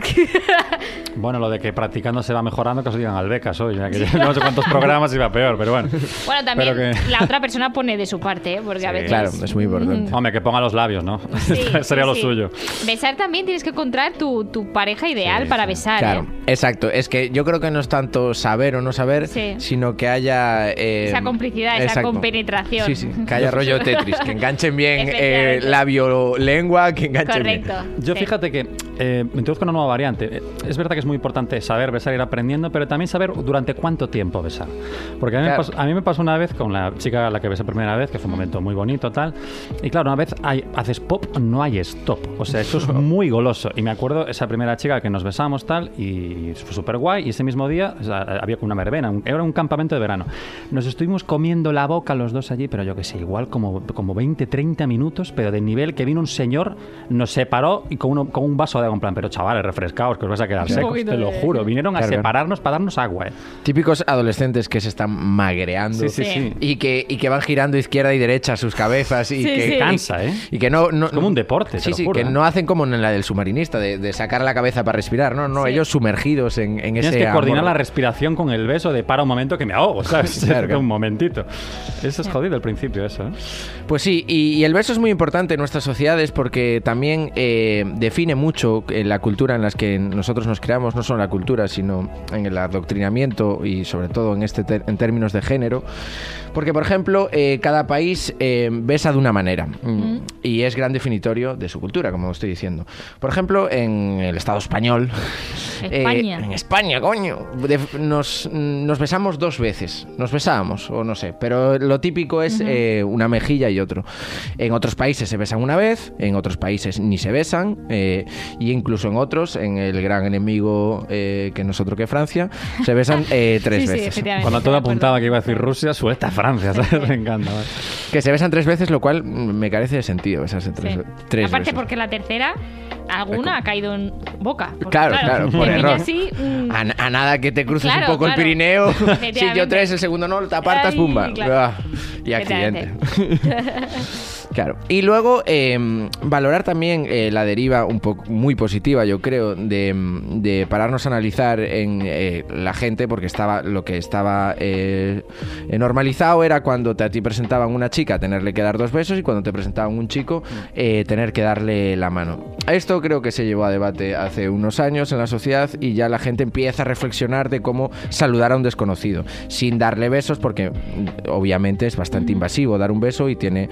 Bueno, lo de que practicando se va mejorando, que os digan al becas hoy, ya que no sé cuántos programas iba peor, pero bueno. Bueno, también Pero que- la otra persona pone de su parte, ¿eh? porque a Sí, veces... Claro, es muy importante. Hombre, que ponga los labios, ¿no? Sí, Sería sí, lo sí. suyo. Besar también tienes que encontrar tu, tu pareja ideal Sí, para sí. besar. Claro, ¿eh? exacto. Es que yo creo que no es tanto saber o no saber, Sí. sino que haya... eh, Esa complicidad, esa compenetración. Sí, sí, que haya rollo Tetris, que enganchen bien eh, Efectivamente. labio-lengua, que enganchen Correcto. bien. Yo Sí. fíjate que eh, me introduzco una nueva variante. Eh, Es verdad que es muy importante saber besar, ir aprendiendo, pero también saber durante cuánto tiempo besar. Porque a mí, me, Claro. pasó, a mí me pasó una vez con la chica a la que besé por primera vez, que fue un momento muy bonito, tal. Y claro, una vez hay- haces pop, no hay stop. O sea, eso es muy goloso. Y me acuerdo esa primera chica que nos besamos, tal, y fue súper guay. Y ese mismo día o sea, había como una verbena, un- era un campamento de verano. Nos estuvimos comiendo la boca los dos allí, pero yo que sé, igual como, como 20, 30 minutos, pero de nivel que vino un señor, nos separó y con, uno- con un vaso de agua, en plan, pero chavales, refrescaos, que os vais a quedar secos, poquito te lo de- juro. Vinieron a Claro, claro. separarnos para darnos agua, eh. Típicos adolescentes que se están magreando. Sí, sí, Sí. sí. Y que, y que van girando izquierda y derecha sus cabezas y Sí, que sí. Cansa, ¿eh? Y que no, no- Es como un deporte, te Sí, lo sí, juro, que ¿eh? no hacen como en la del submarinista, de, de sacar la cabeza para respirar. No, no, Sí. ellos sumergidos en, en ese Tienes que coordinar la amor. respiración con el beso de para un momento que me ahogo, ¿sabes? Claro, claro. un momentito. Eso es jodido al principio, eso, ¿eh? Pues sí, y, y el verso es muy importante en nuestras sociedades porque también eh, define mucho eh, la cultura en las que nosotros nos creamos, no solo la cultura, sino en el adoctrinamiento y sobre todo en, este ter- en términos de género. Porque, por ejemplo, eh, cada país eh, besa de una manera mm, y es gran definitorio de su cultura, como estoy diciendo. Por ejemplo, en el Estado español... eh, España. en España, coño. Def- nos, mm, nos besamos dos veces. Nos besábamos, o no sé. Pero lo típico es eh, una mejilla y otro. En otros países se besan una vez, en otros países ni se besan. eh, y incluso en otros, en el gran enemigo eh, que nosotros que Francia, se besan eh, tres Sí, sí, veces. efectivamente, Cuando estoy todo de acuerdo. apuntaba que iba a decir Rusia, suelta Francia, ¿sabes? Me encanta. vale. que se besan tres veces, lo cual mm, me carece de sentido besarse tres, Sí. ve- tres Aparte, veces. porque la tercera, alguna ha caído en boca. Porque, Claro, claro, te por pilla error. Ah, así, mm, A, a nada que te cruces Claro, un poco claro. el Pirineo, si yo Efectivamente. tres, el segundo no, te apartas, Ay, pumba. claro. Ah, Y accidente. claro. Y luego eh, valorar también eh, la deriva un poco muy positiva, yo creo, de, mm, de pararnos a analizar en eh, la gente, porque estaba lo que estaba eh, eh, normalizado era cuando te, a ti presentaban una chica tenerle que dar dos besos y cuando te presentaban un chico eh, tener que darle la mano. Esto creo que se llevó a debate hace unos años en la sociedad y ya la gente empieza a reflexionar de cómo saludar a un desconocido sin darle besos porque mm, obviamente es bastante invasivo dar un beso y tiene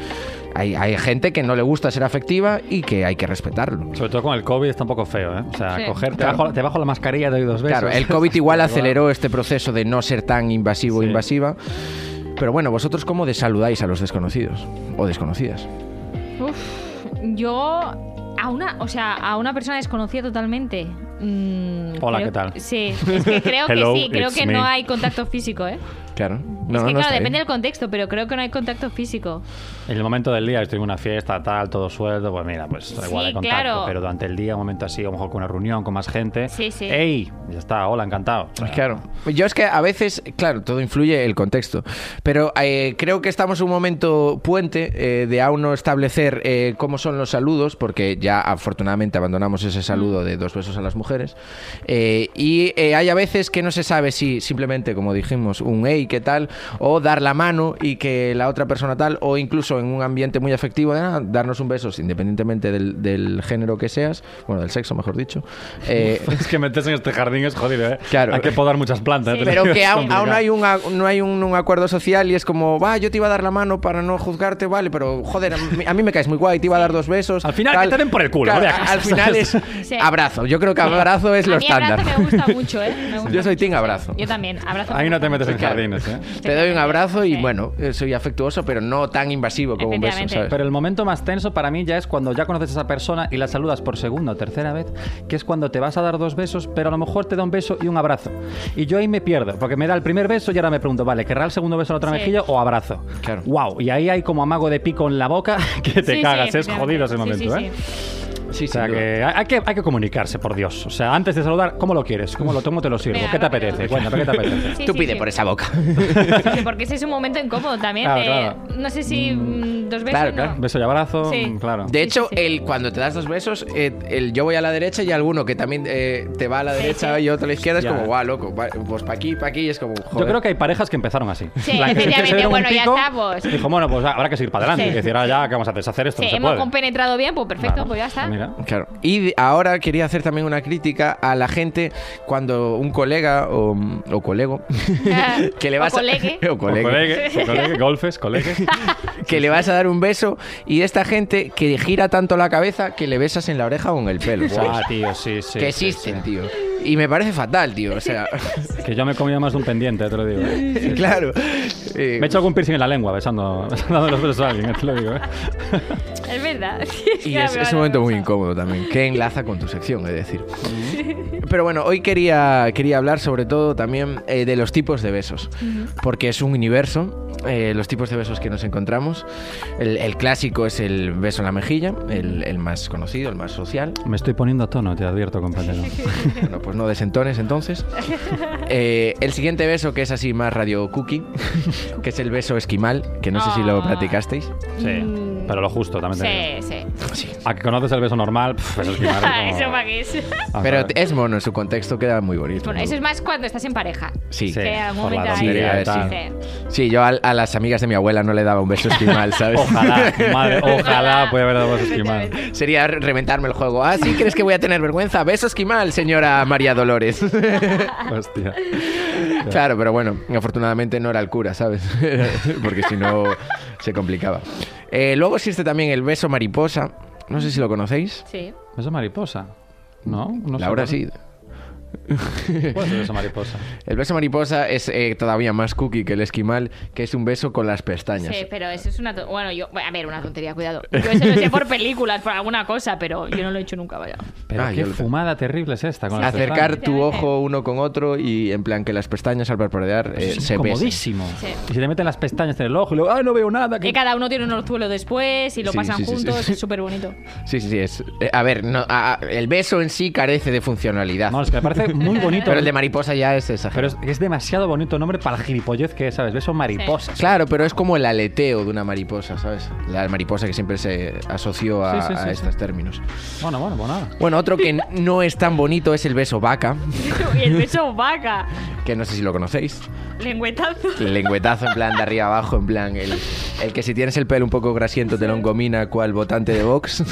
hay, hay gente que no le gusta ser afectiva y que hay que respetarlo. Sobre todo con el COVID está un poco feo, ¿eh? O sea, Sí. coger, te, bajo, te bajo la mascarilla, te doy dos besos. Claro, el COVID igual Hostia, aceleró este proceso de no ser tan invasivo o Sí. invasiva. Pero bueno, vosotros cómo desaludáis a los desconocidos o desconocidas. Uf, yo a una, o sea, a una persona desconocida totalmente. mm, Hola, creo- ¿qué tal? Sí, es que creo que Hello, sí, creo it's que me. no hay contacto físico, ¿eh? Claro. No, es no, que, no claro, está depende bien. del contexto, pero creo que no hay contacto físico. En el momento del día, estoy en una fiesta, tal, todo sueldo, pues mira, pues da igual Sí, hay contacto. claro. Pero durante el día, un momento así, a lo mejor con una reunión, con más gente. Sí, sí. ¡Ey! Ya está, hola, encantado. Claro. Yo es que a veces, claro, todo influye el contexto, pero eh, creo que estamos en un momento puente eh, de aún no establecer eh, cómo son los saludos, porque ya afortunadamente abandonamos ese saludo de dos besos a las mujeres, eh, y eh, hay a veces que no se sabe si simplemente, como dijimos, un hey, ¿qué tal? O dar la mano y que la otra persona tal, o incluso en un ambiente muy afectivo, de, "Ah, darnos un beso, independientemente del, del género que seas, bueno, del sexo, mejor dicho. eh, Es que meterse en este jardín es jodido, ¿eh? Claro. Hay que podar muchas plantas. Sí. te lo Pero digo, que es aún, aún complicado. no hay, un, a- no hay un, un acuerdo social y es como, va, yo te iba a dar la mano para no juzgarte, vale, pero joder, a mí, a mí me caes muy guay, te iba a dar dos besos. Al final, que te den por el culo, vaya a- casa, al final es ¿sabes? Sí. abrazo. Yo creo que abrazo es a lo mí abrazo estándar. me gusta mucho, ¿eh? Me gusta Yo soy mucho, team sí. abrazo. Yo también, abrazo. Ahí no te me gusta metes en mucho. jardines, ¿eh? Te doy un abrazo y Sí. bueno, eh, soy afectuoso, pero no tan invasivo como un beso, Efectivamente. ¿sabes? Pero el momento más tenso para mí ya es cuando ya conoces a esa persona y la saludas por segunda o tercera vez, que es cuando te vas a dar dos besos, pero a lo mejor te da un beso y un abrazo. Y yo ahí me pierdo, porque me da el primer beso y ahora me pregunto, vale, ¿querrá el segundo beso en la otra Sí. mejilla o abrazo? Claro. ¡Wow! Y ahí hay como amago de pico en la boca que te Sí, sí, cagas, es efectivamente. jodido Sí, ese sí, momento, sí. ¿eh? Sí, O sea sin duda. que hay hay que, hay que comunicarse, por Dios. O sea, antes de saludar, ¿cómo lo quieres? ¿Cómo lo tomo? ¿Te lo sirvo? Venga, ¿Qué te rápido. apetece? Cuéntame, ¿qué te apetece? Sí, Tú sí, pide sí. por esa boca. Sí, Porque ese es un momento incómodo también. Claro, de- claro. No sé si mm, dos veces. Claro, no. claro. Beso y abrazo, mm, Sí. claro. De hecho, sí, sí. El, cuando te das dos besos, eh, el yo voy a la derecha y alguno que también eh, te va a la derecha sí. y otro a la izquierda Ya. es como, guau, loco, va- pues para aquí, para aquí, y es como, joder. Yo creo que hay parejas que empezaron así. Sí, En plan, que efectivamente, se dieron un bueno, ya pico, estamos. y Dijo, bueno, pues habrá que seguir para adelante. Sí. Es decir, ahora ya, ¿qué vamos a hacer? ¿Deshacer esto? Sí, no se hemos puede. compenetrado bien, pues perfecto, Claro. pues ya está. Mira. Claro. Y de- ahora quería hacer también una crítica a la gente cuando un colega o, o colego que le O vas colegue. a o colegue, O pues colegue, o colegue, golfes, colegue. que le vas a dar un beso y esta gente que gira tanto la cabeza que le besas en la oreja o en el pelo, Ah, ¿sabes? tío, sí, sí. que sí, existen, sí. tío. Y me parece fatal, tío, o sea, Que yo me he comido más de un pendiente, te lo digo. eh. claro. Eh, Me he hecho algún piercing en la lengua besando, dando los besos a alguien, te lo digo. eh. Es verdad. Sí, Y ya es, me es vale, un momento vamos muy a- incómodo también, que enlaza con tu sección, es decir. Pero bueno, hoy quería, quería hablar sobre todo también eh, de los tipos de besos, porque es un universo, eh, los tipos de besos que nos encontramos. El, el clásico es el beso en la mejilla, el, el más conocido, el más social. Me estoy poniendo a tono, te advierto, compañero. Bueno, pues no desentones entonces. Eh, el siguiente beso, que es así más radio cookie, que es el beso esquimal, que no sé si lo Ah. platicasteis. Sí, pero lo justo, también te Sí, digo. sí. Sí. A que conoces el beso normal, pff, beso esquimal, es Eso como- para qué es. Ah, Pero claro. es mono, en su contexto queda muy bonito. Bueno, muy eso es más cuando estás en pareja. Sí. Sí, que en algún por la momento hay- tontería, sí. sí. Sí, yo al- a, las amigas de mi abuela no le daba un beso esquimal, ¿sabes? Ojalá, madre, ojalá puede haber dado beso esquimal. Sería re- reventarme el juego. Ah, ¿sí crees que voy a tener vergüenza? Beso esquimal, señora María Dolores. Hostia. claro, pero bueno, afortunadamente no era el cura, ¿sabes? Porque si no, se complicaba. Eh, luego existe también el beso mariposa. No sé si lo conocéis. Sí. ¿Beso mariposa? No, no sé. Mm, Laura sí. ¿Cuál es el beso mariposa? El beso mariposa es eh, todavía más cookie que el esquimal, que es un beso con las pestañas. Sí, pero eso es una... to- Bueno, yo... A ver, una tontería, cuidado. Yo eso lo sé por películas, por alguna cosa, pero yo no lo he hecho nunca, vaya. Pero Ah, qué yo lo- fumada terrible es esta. Con las Acercar pestañas. tu ojo uno con otro y en plan que las pestañas al parpadear eh, Pues Es se besen. incomodísimo. Sí. Y se te meten las pestañas en el ojo y luego, ¡ay, no veo nada! Que que-". cada uno tiene un orzuelo después y lo Sí, pasan sí, sí, sí. juntos, es súper bonito. Sí, sí, sí. Es, eh, a ver, no, a- a- el beso en sí carece de funcionalidad. No, es que me parece muy bonito. pero el de mariposa ya es Pero exagerado. es, es demasiado bonito el nombre para el gilipollez que es, ¿sabes? Beso mariposa. Claro, pero es como el aleteo de una mariposa, ¿sabes? La mariposa que siempre se asoció a, Sí, sí, sí, a sí. estos términos. Bueno, bueno, bueno. nada. Bueno, otro que no es tan bonito es el beso vaca, y el beso vaca. que no sé si lo conocéis. Lengüetazo. El lengüetazo en plan de arriba abajo, en plan el, el que si tienes el pelo un poco grasiento te lo encomina cual votante de Vox.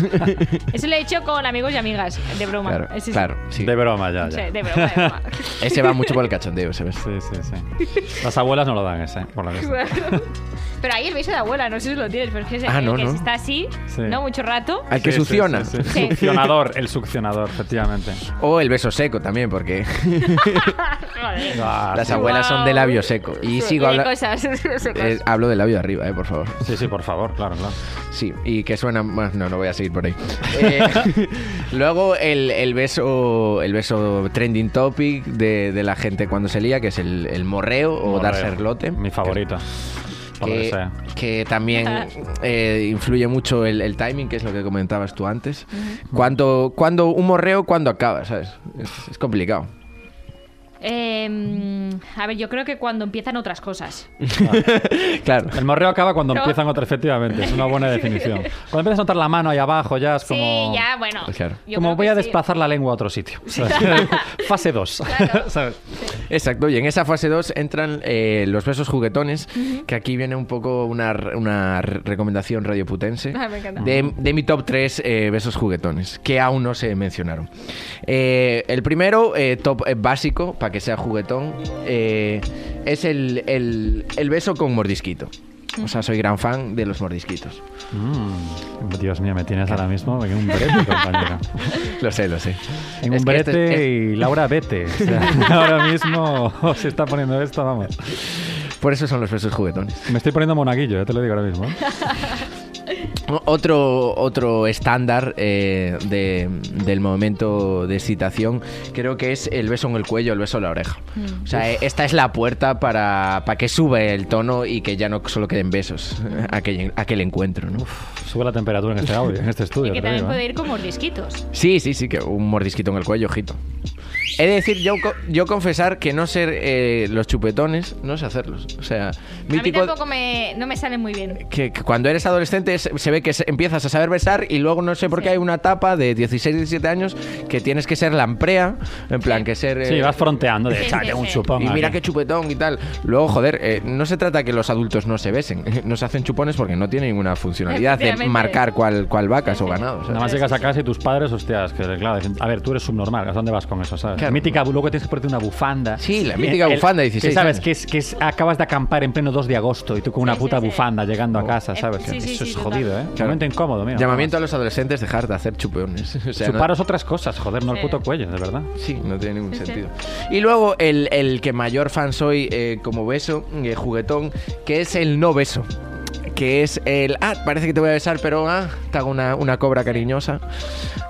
Eso lo he hecho con amigos y amigas, de broma. claro, Sí, sí. claro. sí. De broma, ya, Sí, de ya. broma, de broma. Ese va mucho por el cachondeo, ¿sabes? Sí, sí, sí. Las abuelas no lo dan ese, por lo que sea. Claro. Pero ahí el beso de abuela, no sé si lo tienes, pero es que, es Ah, el no, que no. está así, Sí. no mucho rato. Al que Sí, sí, succiona. sí, sí. Sí. Succionador, el succionador, efectivamente. O el beso seco también, porque Joder. Ah, Las sí. abuelas son de labio seco. Y sigo Tiene hablando. cosas. Eh, hablo de labio arriba, eh, por favor. Sí, sí, por favor, claro, claro. Sí, y que suena más. No, no voy a seguir por ahí. Eh, luego el, el beso el beso trending topic de, de la gente cuando se lía, que es el, el morreo, o Morreo, dar serlote. Mi favorita. Por lo que Que, sea. que también eh, influye mucho el, el timing, que es lo que comentabas tú antes. Cuando, cuando un morreo, cuando acaba, ¿sabes? Es, es complicado. Eh, mm, a ver, yo creo que cuando empiezan otras cosas. Claro. El morreo acaba cuando No. empiezan otras, efectivamente. Es una buena definición. Cuando empiezas a notar la mano ahí abajo, ya es como. Sí, ya, bueno. pues Claro. yo Como creo voy que a sí. desplazar la lengua a otro sitio. Fase 2. Claro. Exacto, y en esa fase 2 entran eh, los besos juguetones, que aquí viene un poco una, r- una r- recomendación radioputense Ah, me encanta. de, de mi top 3 besos juguetones, que aún no se mencionaron. Eh, el primero, eh, top eh, básico, para que sea juguetón, eh, es el, el- el beso con mordisquito. O sea, soy gran fan de los mordisquitos. Dios mío, me tienes ahora mismo en un brete, compañero. Lo sé, lo sé. En Es un que este- brete y Laura, vete. O sea, ahora mismo se está poniendo esto, vamos. Por eso son los besos juguetones. Me estoy poniendo monaguillo, ya te lo digo ahora mismo. ¿eh? Otro, otro estándar eh, de- del momento de excitación creo que es el beso en el cuello, el beso en la oreja. Mm. O sea, eh, esta es la puerta para, para que sube el tono y que ya no solo queden besos eh, aquel, aquel encuentro, ¿no? Sube la temperatura en este audio, en este estudio. Y que te también digo, puede ¿eh? ir con mordisquitos. Sí, sí, sí, que un mordisquito en el cuello, ojito. He de decir, yo, co- yo confesar que no ser eh, los chupetones, no sé hacerlos. O sea, A mí mítico... tampoco me, no me salen muy bien. que, que cuando eres adolescente se, se ve que se- empiezas a saber besar y luego no sé por qué hay una etapa de 16, 17 años que tienes que ser lamprea, en plan que ser... eh, Sí, vas fronteando de Sí, echarle sí, un sí. chupón. y mira aquí". qué chupetón y tal. Luego, joder, eh, no se trata que los adultos no se besen. No se hacen chupones porque no tiene ninguna funcionalidad de Efectivamente. marcar cuál, cuál vacas o ganados. Nada más llegas a casa y tus padres, hostias, que claro, dicen, a ver, tú eres subnormal, ¿a dónde vas con eso? ¿sabes? Claro. Mítica, bu- luego tienes que ponerte una bufanda. Sí, la mítica bufanda de 16 Que sabes años. que, es, que es- acabas de acampar en pleno 2 de agosto y tú con una Sí, puta sí, sí. bufanda llegando a casa, Eh, ¿sabes? sí, sí, eso sí, es total. jodido, ¿eh? Oh. Claro. Momento incómodo, mira. Llamamiento a vamos. los adolescentes, dejar de hacer chupones. O sea, no- Chuparos otras cosas, joder, no el puto cuello, de verdad. Sí, no tiene ningún Sí, sí. sentido. Y luego el, el que mayor fan soy eh, como beso, eh, juguetón, que es el no beso. Que es el, ah, parece que te voy a besar, pero ah, te hago una, una cobra cariñosa.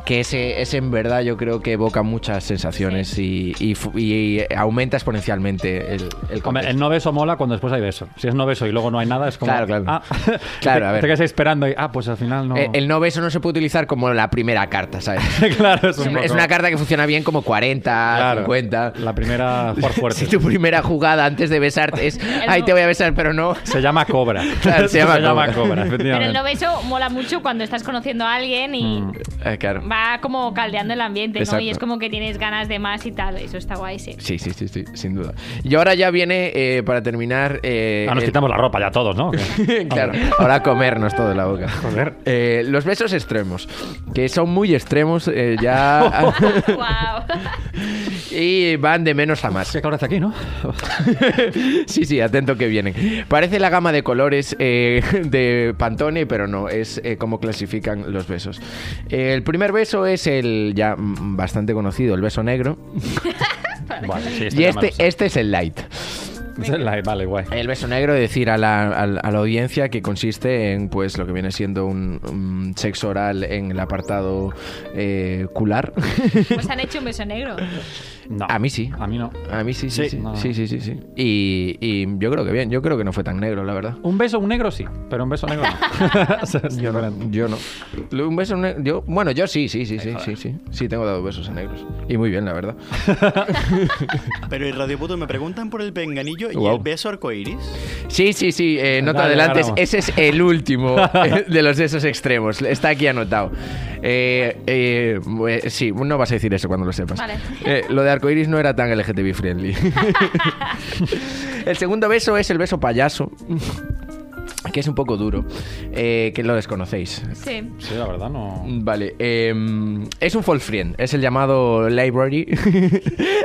Que ese, ese en verdad yo creo que evoca muchas sensaciones y, y fu- y aumenta exponencialmente el, el Hombre, contexto. el no beso mola cuando después hay beso. Si es no beso y luego no hay nada, es como. Claro, claro. Ah, Claro, te, a ver. te quedas ahí esperando y. Ah, pues al final no. Eh, el no beso no se puede utilizar como la primera carta, ¿sabes? claro, es, Es un una- es poco- una carta que funciona bien como 40, Claro, 50. La primera por fuerte. Si tu primera jugada antes de besarte es, ay, te voy a besar, pero no. Se llama Cobra. Claro, se llama Cobra. Pero efectivamente. el no beso mola mucho cuando estás conociendo a alguien y Eh, claro. va como caldeando el ambiente, ¿no? Y Exacto. es como que tienes ganas de más y tal. Eso está guay, sí. Sí, sí, sí, sí, sin duda. Y ahora ya viene, eh, para terminar... eh, Ah, nos el- quitamos la ropa ya todos, ¿no? claro, ahora comernos todo la boca. Joder. Eh, los besos extremos, que son muy extremos eh, ya... Guau. y van de menos a más. ¿Qué calor hace aquí, no? Sí, sí, atento que vienen. Parece la gama de colores eh, de Pantone, pero no, es eh, como clasifican los besos. Eh, el primer beso es el ya mm, bastante conocido, el beso negro. Vale, sí, Y ya este, me lo sé. este es el light. Es el light, Vale, guay. El beso negro, decir a la, a la- a la audiencia que consiste en pues lo que viene siendo un, un sexo oral en el apartado eh, cular. Pues han hecho un beso negro. No. a mí sí. A mí no. A mí sí, sí, sí. Sí. No, no. Sí, sí, sí, sí. Y, y yo creo que bien, yo creo que no fue tan negro, la verdad. Un beso, un negro sí, pero un beso negro no. O sea, es diferente. Yo no. Lo- Un beso negro. Yo, bueno, yo sí, sí, sí, sí, sí, sí. Sí, tengo dado besos a negros. Y muy bien, la verdad. Pero en Radio Puto me preguntan por el penganillo y Guau. el beso arcoiris. Sí, sí, sí. eh, no te Dale, adelantes. ganamos. Ese es el último eh, de los de esos extremos. Está aquí anotado. Eh, eh, eh, sí, no vas a decir eso cuando lo sepas. Vale. Eh, lo de arcoiris no era tan LGTB friendly. el segundo beso es el beso payaso. Que es un poco duro. eh, que lo desconocéis. Sí. Sí, la verdad no. Mm, Vale, em, es un false friend, es el llamado library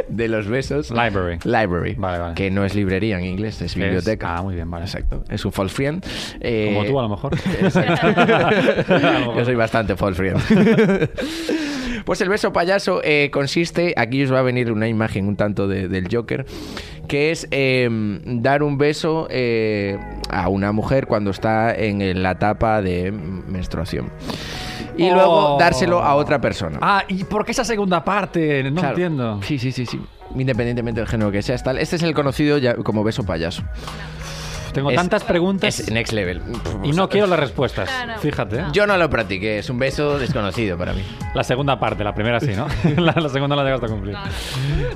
de los besos. Library. Library. Vale, vale. Que no es librería en inglés, es biblioteca. Ah, muy bien, vale. Exacto. Es un false friend. eh, Como tú, a lo mejor. Exacto. A lo mejor. Yo soy bastante false friend. Pues el beso payaso eh, consiste, aquí os va a venir una imagen un tanto de- del Joker, que es eh, dar un beso eh, a una mujer cuando está en la etapa de menstruación. Y luego Oh. dárselo a otra persona. Ah, ¿y por qué esa segunda parte? No Claro. entiendo. Sí, sí, sí, sí. Independientemente del género que seas, tal. Este es el conocido ya como beso payaso. Tengo Es- tantas preguntas Es next level. y no quiero las respuestas. Claro. Fíjate. ¿eh? Yo no lo practiqué, es un beso desconocido para mí. La segunda parte, la primera sí, ¿no? la, la segunda la llegaste a cumplir.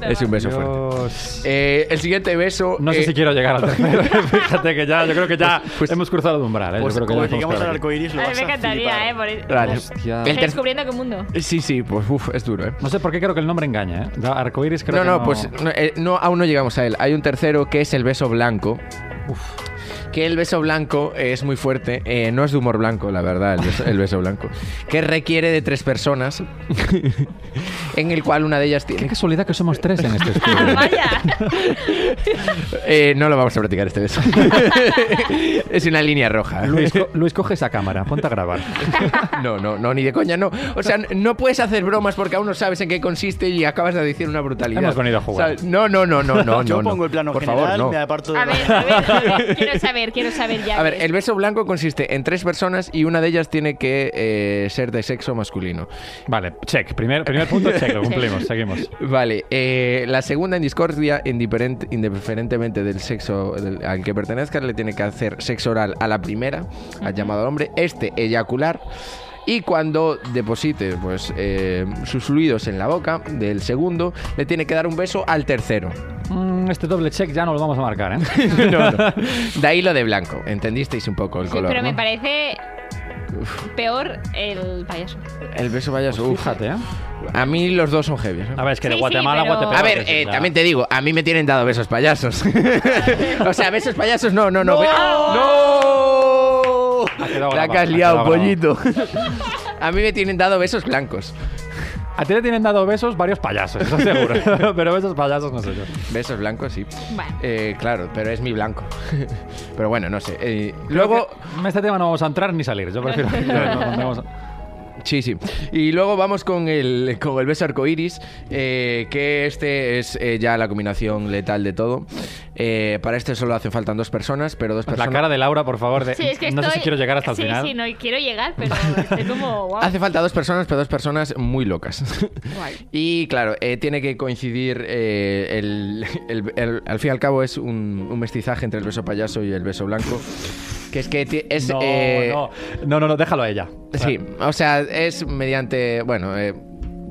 Es un beso fuerte. Dios. Eh, el siguiente beso. No sé eh, si quiero llegar al tercero. Fíjate que ya, yo creo que ya pues- hemos cruzado el umbral. ¿eh? Yo pues creo que ya Cuando podemos lleguemos al parar aquí. arco iris lo A mí vas me a encantaría, flipar. ¿eh? Por eso. Vale. Hostia. El Estoy ter- descubriendo qué mundo. Sí, sí, pues uf, es duro, ¿eh? No sé por qué creo que el nombre engaña, ¿eh? Da- Arcoiris creo No, que no, pues no, eh, no, aún no llegamos a él. Hay un tercero que es el beso blanco. Que el beso blanco es muy fuerte. eh, no es de humor blanco, la verdad, el beso, el beso blanco. Que requiere de tres personas. en el cual una de ellas Qué tiene. casualidad que somos tres en este estudio. Vaya. Eh, no lo vamos a practicar este beso. es una línea roja. Luis, co- Luis, coge esa cámara, ponte a grabar. No, no, no, ni de coña, no. O sea, no puedes hacer bromas porque aún no sabes en qué consiste y acabas de decir una brutalidad. Hemos venido a jugar. ¿Sabes? No, no, no, no, no. Yo no, no. pongo el plano Por general, favor, no. me aparto de A ver, a ver. Quiero saber, quiero saber ya. A ver, qué es. el beso blanco consiste en tres personas y una de ellas tiene que eh, ser de sexo masculino. Vale, check. Primer, primer punto, check. Lo cumplimos, seguimos. Vale, eh, la segunda en discordia, indiferent- indiferentemente del sexo del- al que pertenezca, le tiene que hacer sexo oral a la primera, al llamado hombre, este eyacular. Y cuando deposite pues, eh, sus fluidos en la boca del segundo, le tiene que dar un beso al tercero. Mm, este doble check ya no lo vamos a marcar, ¿eh? No, no. De ahí lo de blanco. Entendisteis un poco el Sí, color. pero me ¿no? parece peor el payaso. El beso payaso. uf. Fíjate, ¿eh? A mí los dos son heavy. ¿eh? A ver, es que de Sí, sí, Guatemala pero- a Guatepeor A ver, es, eh, ya. también te digo, a mí me tienen dado besos payasos. o sea, besos payasos, no, no, no. be- ¡No! La Ha quedado que has grabado, ha liado, quedado grabado. pollito. a mí me tienen dado besos blancos. A ti te tienen dado besos varios payasos, eso seguro. pero besos payasos no sé yo. Besos blancos, sí. Bueno. Eh, claro, pero es mi blanco. pero bueno, no sé. Eh, luego, En este tema no vamos a entrar ni salir. Yo prefiero. que nos pongamos- sí, sí. Y luego vamos con el, con el beso arcoiris, eh, que este es eh, ya la combinación letal de todo. Eh, para este solo hacen falta dos personas, pero dos La personas. cara de Laura, por favor. de- Sí, es que Eh, no sé estoy- si quiero llegar hasta el sí, final. Sí, no quiero llegar, pero estoy como. guau. Hace falta dos personas, pero dos personas muy locas. Guay. Y claro, eh, tiene que coincidir, eh, el, el- el- al fin y al cabo es un, un mestizaje entre el beso payaso y el beso blanco. Que es que ti- es... No, eh, no, no, no, no, déjalo a ella. Sí, o sea, es mediante, bueno, eh,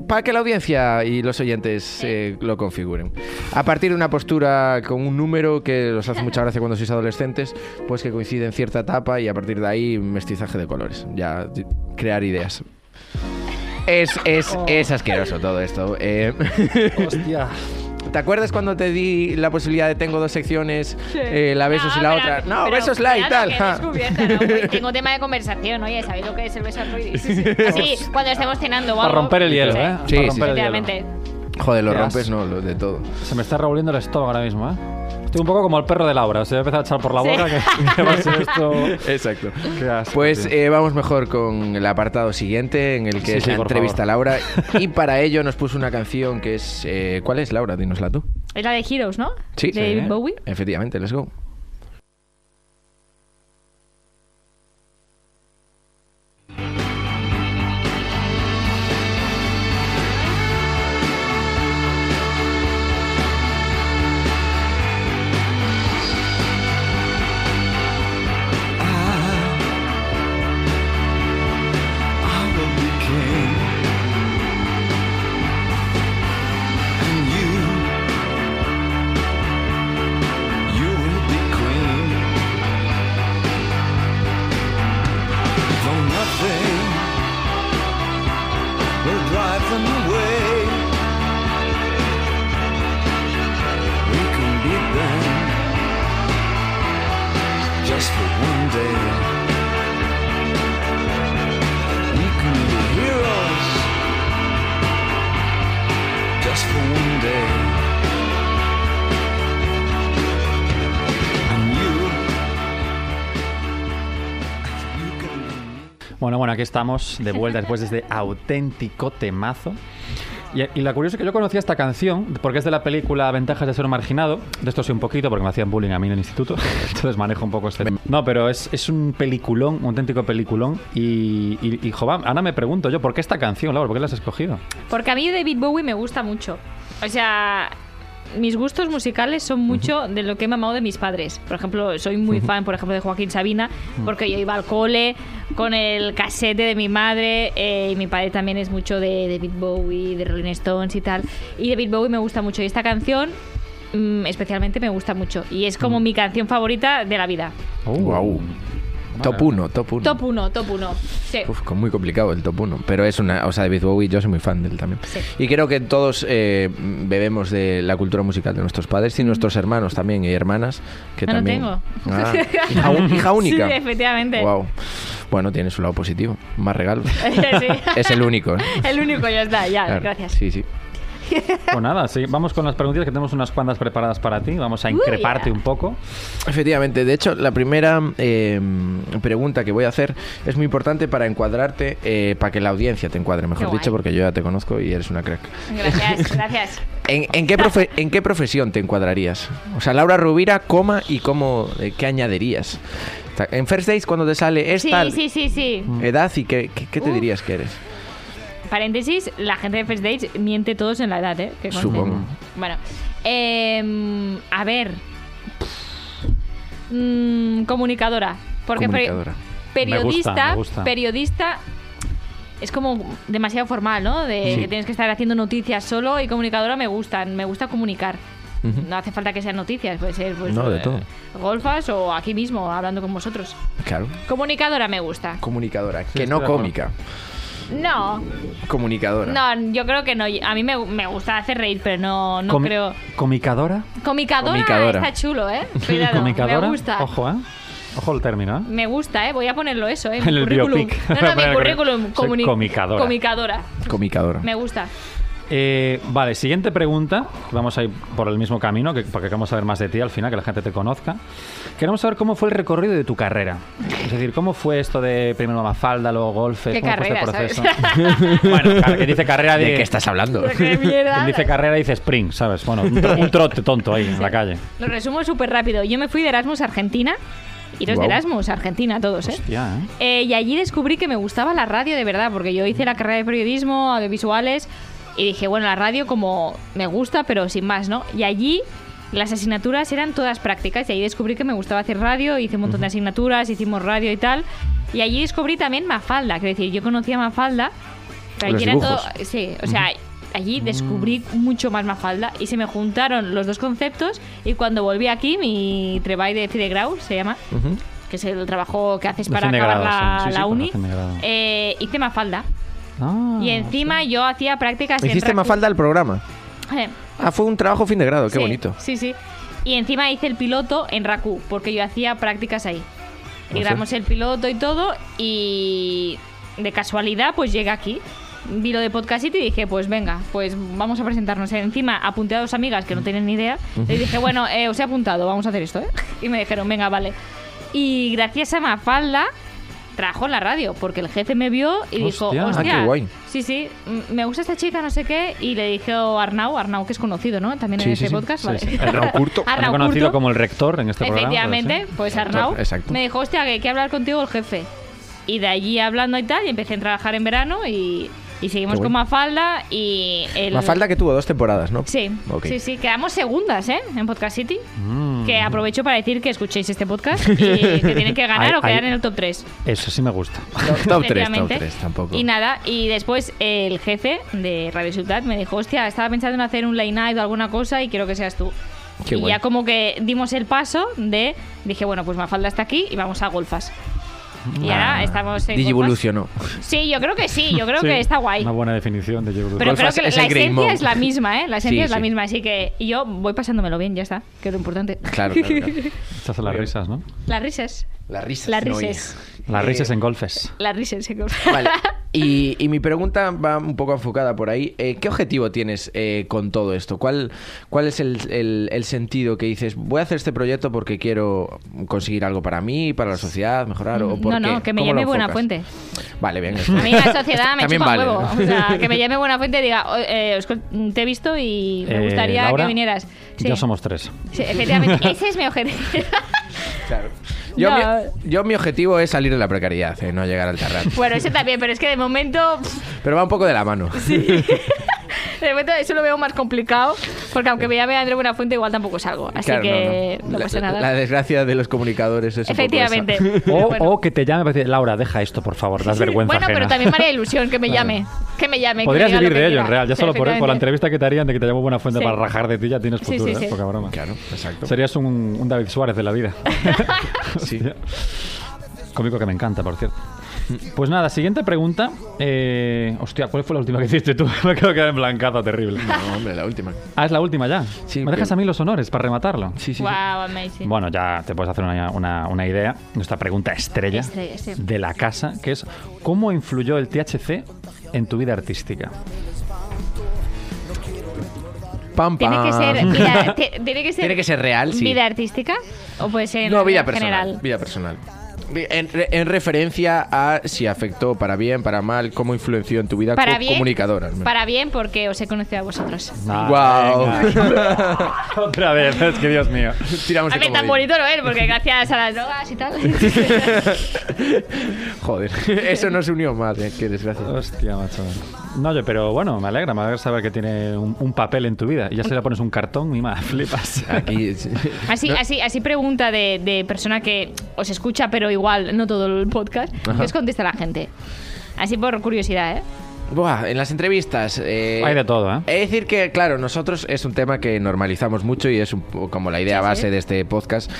para que la audiencia y los oyentes eh, lo configuren. A partir de una postura con un número que los hace mucha gracia cuando sois adolescentes, pues que coincide en cierta etapa y a partir de ahí mestizaje de colores, ya t- crear ideas. Es, es, es asqueroso todo esto. eh. Hostia. ¿Te acuerdas cuando te di la posibilidad de tengo dos secciones, eh, la besos No, y la pero- otra? No, pero besos la y claro tal. que he ja. descubierto, ¿no? Uy, Tengo tema de conversación, oye, ¿sabéis lo que es el beso arcoíris? Sí, cuando estemos cenando, Para vamos. romper el hielo, Sí, ¿eh? Sí, Para sí. romper el hielo. Literalmente. Joder, lo Qué rompes, asco. no, lo de todo. Se me está revolviendo el estómago ahora mismo, ¿eh? Estoy un poco como el perro de Laura. Se va a empezar a echar por la Sí. boca que, que va a ser esto. Exacto. Qué asco, Pues tío. eh, vamos mejor con el apartado siguiente en el que Sí, es sí, la por entrevista a favor. Laura. Y para ello nos puso una canción que es. eh, ¿Cuál es, Laura? Dínosla tú. Es la de Heroes, ¿no? Sí. De David Sí. Bowie. Efectivamente, let's go. I will be king, and you, you will be queen. Though nothing will drive them away, we can beat them just for one day. We can be heroes just for one day. And you, you can be me. Bueno, bueno, aquí estamos de vuelta después de este auténtico temazo. Y, y la curiosa es que yo conocía esta canción porque es de la película Ventajas de ser un marginado. De esto sí un poquito porque me hacían bullying a mí en el instituto. Entonces manejo un poco este. No, pero es, es un peliculón, un auténtico peliculón. Y, y, y, jo, va, ahora me pregunto yo, ¿por qué esta canción, Laura? ¿Por qué la has escogido? Porque a mí David Bowie me gusta mucho. O sea, mis gustos musicales son mucho de lo que he mamado de mis padres. Por ejemplo, soy muy fan, por ejemplo, de Joaquín Sabina, porque yo iba al cole con el casete de mi madre eh, y mi padre también es mucho de David Bowie, de Rolling Stones y tal. Y David Bowie me gusta mucho. Y esta canción mm, especialmente me gusta mucho. Y es como mi canción favorita de la vida. Uh, Guau. Top 1, top 1. Top 1, top 1. Sí. Uf, con- muy complicado el top 1. Pero es una. O sea, David Bowie, yo soy muy fan de él también. Sí. Y creo que todos eh, bebemos de la cultura musical de nuestros padres y nuestros hermanos también y hermanas. Que Mm. Ah, no también... tengo. Ah, hija, un- hija única. Sí, efectivamente. Wow. Bueno, tiene su lado positivo. Más regalos. Sí. es el único. ¿eh? El único, ya está, ya, Claro. gracias. Sí, sí. Pues nada, sí, vamos con las preguntitas que tenemos unas cuantas preparadas para ti. Vamos a increparte yeah. un poco. Efectivamente, de hecho, la primera eh, pregunta que voy a hacer es muy importante para encuadrarte, eh, para que la audiencia te encuadre, mejor Qué guay. dicho, porque yo ya te conozco y eres una crack. Gracias, gracias. ¿En, en qué profe- ¿En qué profesión te encuadrarías? O sea, Laura Rubira, coma y cómo, eh, qué añadirías. O sea, En First Days, cuando te sale Sí, esta sí, sí, sí. edad y qué, qué- qué te Uf. dirías que eres. Paréntesis, la gente de First Dates miente todos en la edad, ¿eh? Que conste. Supongo. Bueno, em, a ver. Mm, comunicadora. Porque peri- Comunicadora. Me gusta, periodista, me gusta. periodista es como demasiado formal, ¿no? De Sí. que tienes que estar haciendo noticias solo y comunicadora me gustan, me gusta comunicar. Ujú. No hace falta que sean noticias, puede ser pues, No, de eh, todo. golfas o aquí mismo hablando con vosotros. Claro, Comunicadora me gusta. comunicadora, que estoy no de acuerdo. cómica, No, comunicadora. No, yo creo que no. A mí me, me gusta hacer reír, pero no, no Comi- creo. ¿Comicadora? Comicadora, Comicadora. está chulo, ¿eh? Cuidado, ¿Comicadora? me gusta. Ojo, ¿eh? Ojo el término, ¿eh? Me gusta, ¿eh? Voy a ponerlo eso, ¿eh? Mi En el currículum. biopic. No, no, mi Soy currículum. comuni- comicadora. Comicadora. Comicadora. Me gusta. Eh, vale, siguiente pregunta. Vamos a ir por el mismo camino, que, porque queremos saber más de ti al final, que la gente te conozca. Queremos saber cómo fue el recorrido de tu carrera. Es decir, cómo fue esto de primero Mafalda, luego golf, ¿Qué cómo carrera, fue este sabes? proceso. bueno, claro, que dice carrera ¿De de... qué estás hablando? ¡Qué mierda! Quien dice carrera dice sprint, ¿sabes? Bueno, un, tro- un trote tonto ahí en la calle. Lo resumo súper rápido. Yo me fui de Erasmus a Argentina. Iros de Guau. Erasmus a Argentina todos, ¿eh? Ya, Eh, ¿eh? y allí descubrí que me gustaba la radio de verdad, porque yo hice la carrera de periodismo, audiovisuales, y dije, bueno, la radio como me gusta, pero sin más, ¿no? Y allí las asignaturas eran todas prácticas, y ahí descubrí que me gustaba hacer radio, hice un montón de asignaturas, hicimos radio y tal. Y allí descubrí también Mafalda, quiero decir, yo conocía Mafalda, pero Los allí era dibujos. Mm. todo. Sí, o sea, allí descubrí mucho más Mafalda y se me juntaron los dos conceptos. Y cuando volví aquí, mi treball de Fidegrau se llama, Ujú. que es el trabajo que haces De para fin de acabar grado, la, sí, sí, la para uni, fin de grado. eh, hice Mafalda. Ah, y encima yo hacía prácticas en Hiciste Raku- más falta al programa. Eh, Ah, fue un trabajo fin de grado, qué sí, bonito. Sí, sí. Y encima hice el piloto en Raku, porque yo hacía prácticas ahí. Y Ojo. grabamos el piloto y todo, y de casualidad, pues llegué aquí. Vi lo de Podcast City y dije, pues venga, pues vamos a presentarnos. Encima apunté a dos amigas Mm. que no tenían ni idea. Les dije, bueno, eh, os he apuntado, vamos a hacer esto, ¿eh? Y me dijeron, venga, vale. Y gracias a Mafalda trajo en la radio, porque el jefe me vio y dijo, Hostia. Ah, hostia, qué guay. sí, sí, mm, me gusta esta chica, no sé qué. Y le dije a Arnau, Arnau que es conocido, ¿no? También Sí, en sí, este sí. podcast, Sí, vale. sí. Arnau Curto. Arnau conocido Curto. como el rector en este programa. Efectivamente, pues Arnau Exacto. me dijo, hostia, que hay que hablar contigo el jefe. Y de allí hablando y tal, y empecé a trabajar en verano y, y seguimos Qué con bueno. Mafalda y el... Mafalda que tuvo dos temporadas, ¿no? Sí, Ok. sí, sí, quedamos segundas, ¿eh? En Podcast City. Mm. Que aprovecho para decir que escuchéis este podcast y que tienen que ganar Ahí- o quedar ahí- en el top 3. Eso sí me gusta. Top 3, top Efectivamente. 3, tampoco. Y nada, y después el jefe de Radio Ciudad me dijo, hostia, estaba pensando en hacer un late night o alguna cosa y quiero que seas tú. Qué y guay. ya como que dimos el paso de, dije, bueno, pues Mafalda está aquí y vamos a golfas. Y Ah, ahora estamos en golfas. Digivolucionó. Sí, yo creo que sí, yo creo Sí, que está guay. Una buena definición de Diego Cruz. Pero creo Golfas que la es el Grey esencia Monk. es la misma, ¿eh? La esencia Sí, es la sí. misma, así que y yo voy pasándomelo bien, ya está, que es lo importante. Claro, claro, claro. Estas son las risas, ¿no? Las risas. Las risas. Las no, risas. oye. Las Eh, risas en golfes. Las risas. se- Vale. Y, y mi pregunta va un poco enfocada por ahí. Eh, ¿Qué objetivo tienes eh, con todo esto? ¿Cuál, cuál es el, el- el sentido que dices, voy a hacer este proyecto porque quiero conseguir algo para mí, para la sociedad, mejorar? O por Mm, No, no, qué? que me ¿Cómo lo llame enfocas? Buenafuente. Vale, bien. A mí la sociedad me También chupa un vale, huevo. ¿no? O sea, que me llame buena fuente y diga, "O- eh, Oscar, te he visto y me Eh, gustaría Laura, que vinieras. Sí, Ya somos tres. sí, efectivamente. Ese es mi objetivo. Claro. Yo, No. mi, yo mi objetivo es salir de la precariedad, eh, no llegar al terreno. bueno, ese también, pero es que de momento, pff, Pero va un poco de la mano. de momento eso lo veo más complicado, porque aunque me llame André Buenafuente igual tampoco salgo. Así Claro, no, que no, no. La- pasa nada. La desgracia de los comunicadores es un poco esa. efectivamente. O, Bueno. o que te llame para decir, Laura, deja esto, por favor, das vergüenza. Bueno, pero ajena". también me haría ilusión que me llame. Que me llame. que me Podrías diga lo vivir que de ello, quiera. en real. Ya Sí, solo por, por la efectivamente. entrevista que te harían de que te llamo buena fuente Sí. para rajar de ti, ya tienes Sí, sí, futuro, sí. ¿eh? Poca broma. Claro, exacto. Serías un, un David Suárez de la vida. Sí. Hostia. Cómico que me encanta, por cierto. Pues nada, siguiente pregunta. Eh, hostia, ¿cuál fue la última que hiciste tú? me quedo quedar en blancazo terrible. No, hombre, la última. Ah, es la última ya. Sí, ¿Me dejas pero- a mí los honores para rematarlo? Sí, sí. sí. Wow, amazing. Bueno, ya te puedes hacer una, una- una idea. Nuestra pregunta estrella, Estrella, sí. de la casa, que es ¿cómo influyó el THC en tu vida artística? Pam, Tiene que pam. ser, vida- te- tiene que ser, Tiene que ser real, sí. vida artística o puede ser en no, vida personal. general. Vida personal. Vi- En, re- en referencia a si afectó para bien, para mal, cómo influenció en tu vida Para co- bien, comunicadora. ¿no? para bien porque os he conocido a vosotros. Guau. Ah, venga. Otra vez, es que Dios mío. Tiramos A de ver, tan comodín. bonito no es, porque gracias a las drogas y tal. Joder, eso nos unió más, eh, qué desgracia. Hostia, macho. No, oye, pero bueno, me alegra, me alegra saber que tiene un, un papel en tu vida. Y ya se le pones un cartón y más, flipas. Aquí es- Así, No, así, así pregunta de, de persona que os escucha, pero igual no todo el podcast. Ajá. ¿Qué os contesta la gente? Así por curiosidad, ¿eh? Buah, en las entrevistas. eh, Hay de todo, ¿eh? Es decir que, claro, nosotros es un tema que normalizamos mucho y es un poco como la idea Sí, sí. base de este podcast.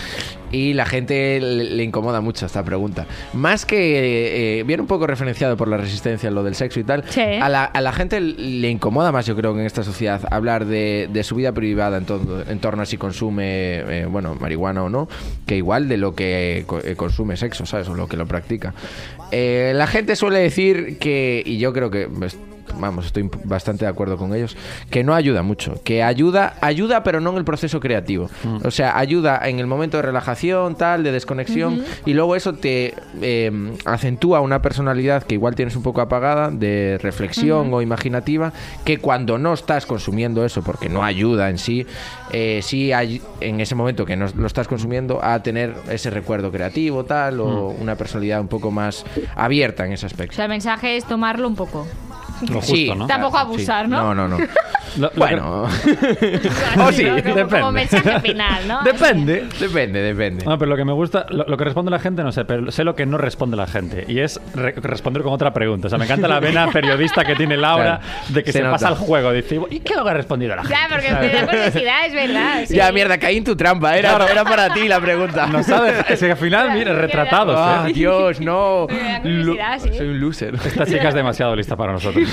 Y la gente le, le incomoda mucho esta pregunta. Más que eh, viene un poco referenciado por la resistencia, lo del sexo y tal. Sí. A, la, a la gente le incomoda más, yo creo, en esta sociedad hablar de, de su vida privada en, todo- en torno a si consume, eh, bueno, marihuana o no, que igual de lo que co- eh, consume sexo, ¿sabes? O lo que lo practica. Eh, la gente suele decir que, y yo creo que pues, vamos, estoy bastante de acuerdo con ellos, que no ayuda mucho, que ayuda, ayuda pero no en el proceso creativo. O sea, ayuda en el momento de relajación, tal, de desconexión, y luego eso te eh, acentúa una personalidad que igual tienes un poco apagada, de reflexión o imaginativa, que cuando no estás consumiendo eso, porque no ayuda en sí, eh, sí hay, en ese momento que no lo estás consumiendo, a tener ese recuerdo creativo, tal, o una personalidad un poco más abierta en ese O aspecto. sea, el mensaje es tomarlo un poco. Lo Eh, justo, Sí. ¿no? Ta- Tampoco Sí. abusar, ¿no? No, no, no. Lo- lo que- Bueno, Como- O Oh, sí, como- como depende. mensaje final, ¿no? depende, depende, depende. No, pero lo que me gusta, lo, lo que responde la gente no sé, pero sé lo que no responde la gente. Y es re- responder con otra pregunta. O sea, me encanta la vena periodista que tiene Laura Claro. de que Se se, nota. pasa al juego. Dice, ¿y qué es lo que ha respondido la gente? Ya, porque me da curiosidad, es verdad. sí. Ya, mierda, caí en tu trampa. Era, era para ti la pregunta. No sabes, es que al final, mira, retratados. ¿eh? Ah, Dios, no. Me da curiosidad, sí. Soy un loser. Esta chica es demasiado lista para nosotros.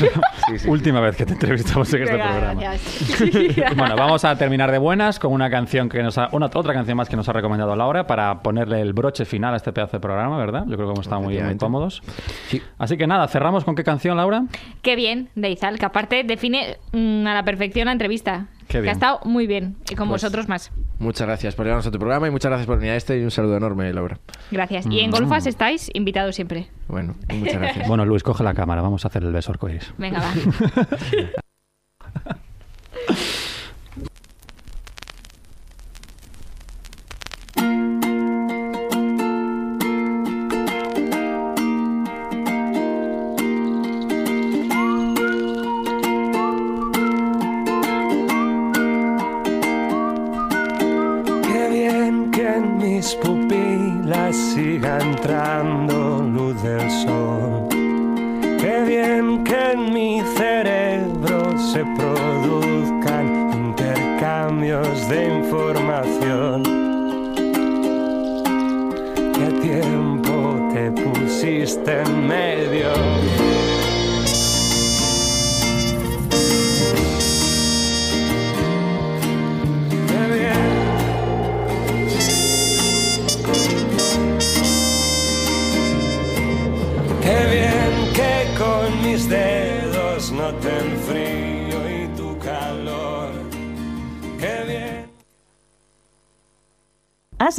Última vez que te entrevistamos en este Venga, programa. gracias. Bueno, vamos a terminar de buenas con una canción que nos ha, una otra canción más que nos ha recomendado Laura para ponerle el broche final a este pedazo de programa, ¿verdad? Yo creo que hemos estado muy, muy Efectivamente. cómodos. Sí. Así que nada, cerramos con qué canción, Laura. Qué bien, de Izal, que aparte define mm, a la perfección la entrevista. Qué Que bien. ha estado muy bien. Y con Pues- vosotros más. Muchas gracias por llevarnos a tu programa y muchas gracias por venir a este y un saludo enorme, Laura. Gracias. Y en Mm. Golfas estáis invitados siempre. Bueno, muchas gracias. Bueno, Luis, coge la cámara, vamos a hacer el beso arcoíris. Venga, va. Qué bien que en mis pupilas siga entrando luz del sol. Qué bien que en mi cerebro se produzcan intercambios de información. Qué tiempo te pusiste en medio. Qué bien. Qué bien que con Has